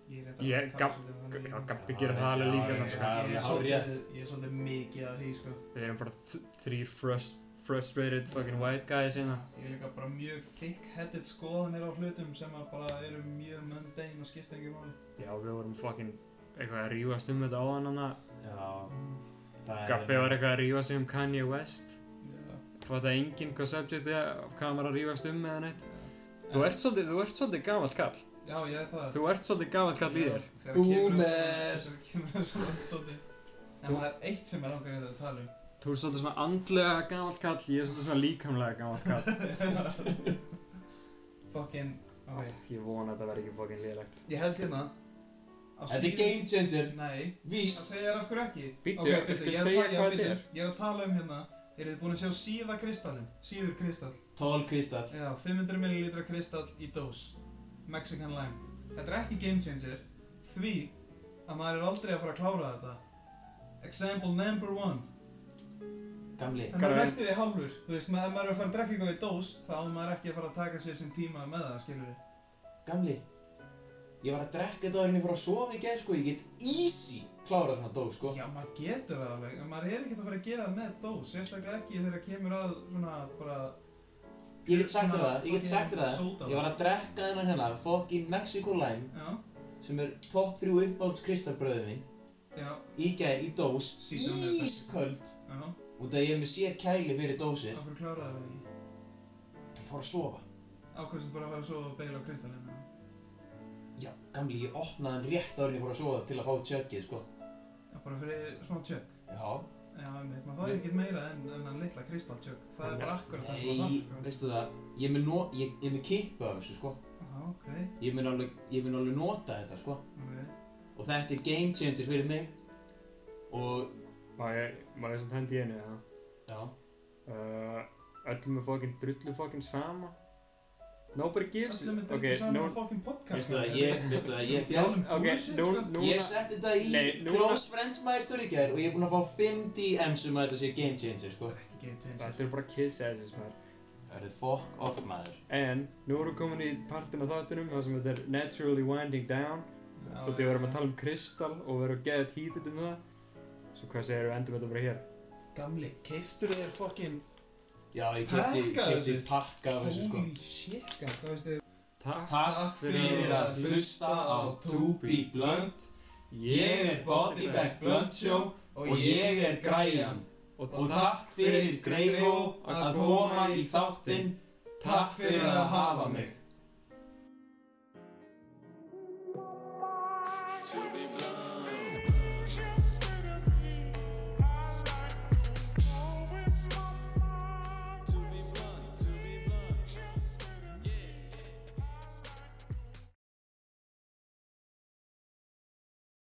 Ég er
Ég-
reyndar að tala
gab-
svolítið um
G-
þannig
Já,
líka.
Gabbi gerir það alveg líka
Já, já,
samt sko.
Ég
já.
er
hárrétt.
svolítið, ég er svolítið mikið að því sko
Við erum bara þ- þrír frust, frustrated fucking white guys hérna.
Ég er líka bara mjög thick-headed skoðanir á hlutum sem að bara eru mjög mundane og skipta ekki máli
Já, við vorum fucking eitthvað að rífast um þetta áðan hana.
Já,
Mm,
það er...
Gabbi var eitthvað að rífast um Kanye West.
Já,
Fatta enginn hvað subjectið er, hvað maður að rífast um eða neitt.
já.
Þú ert svolítið, þú ert svolítið gamall kall.
Já, ég er það
Þú ert svolítið gamall kall í
Já,
þér.
þegar kemur að-
Boomer.
Þegar kemur að svona stóti En
Þú-
það er eitt sem er langar hérna að tala um
Þú ert svolítið svona andlega gamall kall, ég er svolítið svona líkamlega gamall kall.
Fucking, ok
Ég vona að þetta verði ekki fucking liðlegt.
Ég held hérna á
Þetta er
síðu-
game changer,
Nei
víst.
Það segja þér af hverju ekki
Bíddu,
Ok, bíddu,
viltu
ég er að
segja
tala- já,
hvað þetta
bíddu,
er?
Ég er að tala um hérna Eru þið búin að sjá síða kristallin? Síður kristall
Tól kristall.
Já, 500 ml kristall í dós Mexican lime Þetta er ekki game changer Því að maður er aldrei að fara að klára þetta Example number one
Gamli,
En maður er
Hvað er-
næstu því halvur Þú veist, maður, ef maður er að fara að drekka eitthvað í dós Þá er maður ekki að fara að taka sér sinn tíma með það, skilur við
gamli. Ég var að drekka þetta áður en ég fór að sofa í gerð, sko. Ég get easy klárað þannig dóf, sko.
Já, maður getur það alveg En maður er ekkert að fara að gera það með dós Sérstaklega ekki þegar kemur að svona bara
Ég get sagt þér það, ég get sagt þér það.
Sódavatn.
Ég var að drekka þennan hérna, fucking Mexico Lime,
Já,
sem er topp þrjú uppáhalds kristallbröðið minn,
já,
í gerð, í dós,
Síðan er best.
ísköld.
já
Út af ég er með sér kæli fyrir dósir.
Okkur kláraði það ekki.
Ég fór að sofa.
Ákvæmstu bara að fara að sofa og beila á kristallinu.
Já, gamli, ég opnaði hann rétt áður en ég fór að sofa til að fá tjöggið, sko.
Já, Já, bara fyrir smá tjökk.
Já,
Já, einmitt, maður þarf ekkert meira en þennan litla kristalltjökk. Það er bara akkurat það sem sko. maður
nei,
þarf,
veistu það, ég mun no, ég, ég mun kippa af þessu, sko.
sko. Já, ok,
Ég mun alveg, ég mun alveg nota þetta, sko.
ok.
Og þetta er game changer fyrir mig. Og,
Má ég, má ég sem hendi í einu, eða?
já,
Uh, öllum er fokkin drullu fokkin sama. Nobody gives
Allir með
Ok,
drukkið saman
nú-
no, fucking podcast.
veistu það, ég, veistu það, ég fjall...
Fjálum
Ok,
bullshit,
nú,
sko.
Ég
núna,
setti þetta í
Nei, núna-
Close Friends Master í gær og ég er búinn að fá 5 DMs um að þetta sé game changer, sko.
Það er ekki game changer.
þetta er bara kiss asses, maður.
Það eru fuck off, maður.
En, nú erum við komin í partin af þáttunum, það sem þetta er naturally winding down.
Já,
Og því við erum að tala um kristall og við erum að geða þetta hítið um það. Svo hvað segir við endum þetta bara hér?
Gamli, keiftur þér fokkin
Já, ég kefti,
Pakka
kefti
þessu.
pakka af þessu, sko.
Holy shit, gæm, hvað veistu þið?
Takk.
Takk fyrir að hlusta á Tubi Blönd. Ég er Bodybag Blönd Show og ég er Græjan.
Og
Og takk fyrir Greifo að koma í þáttinn. Takk fyrir að hafa mig.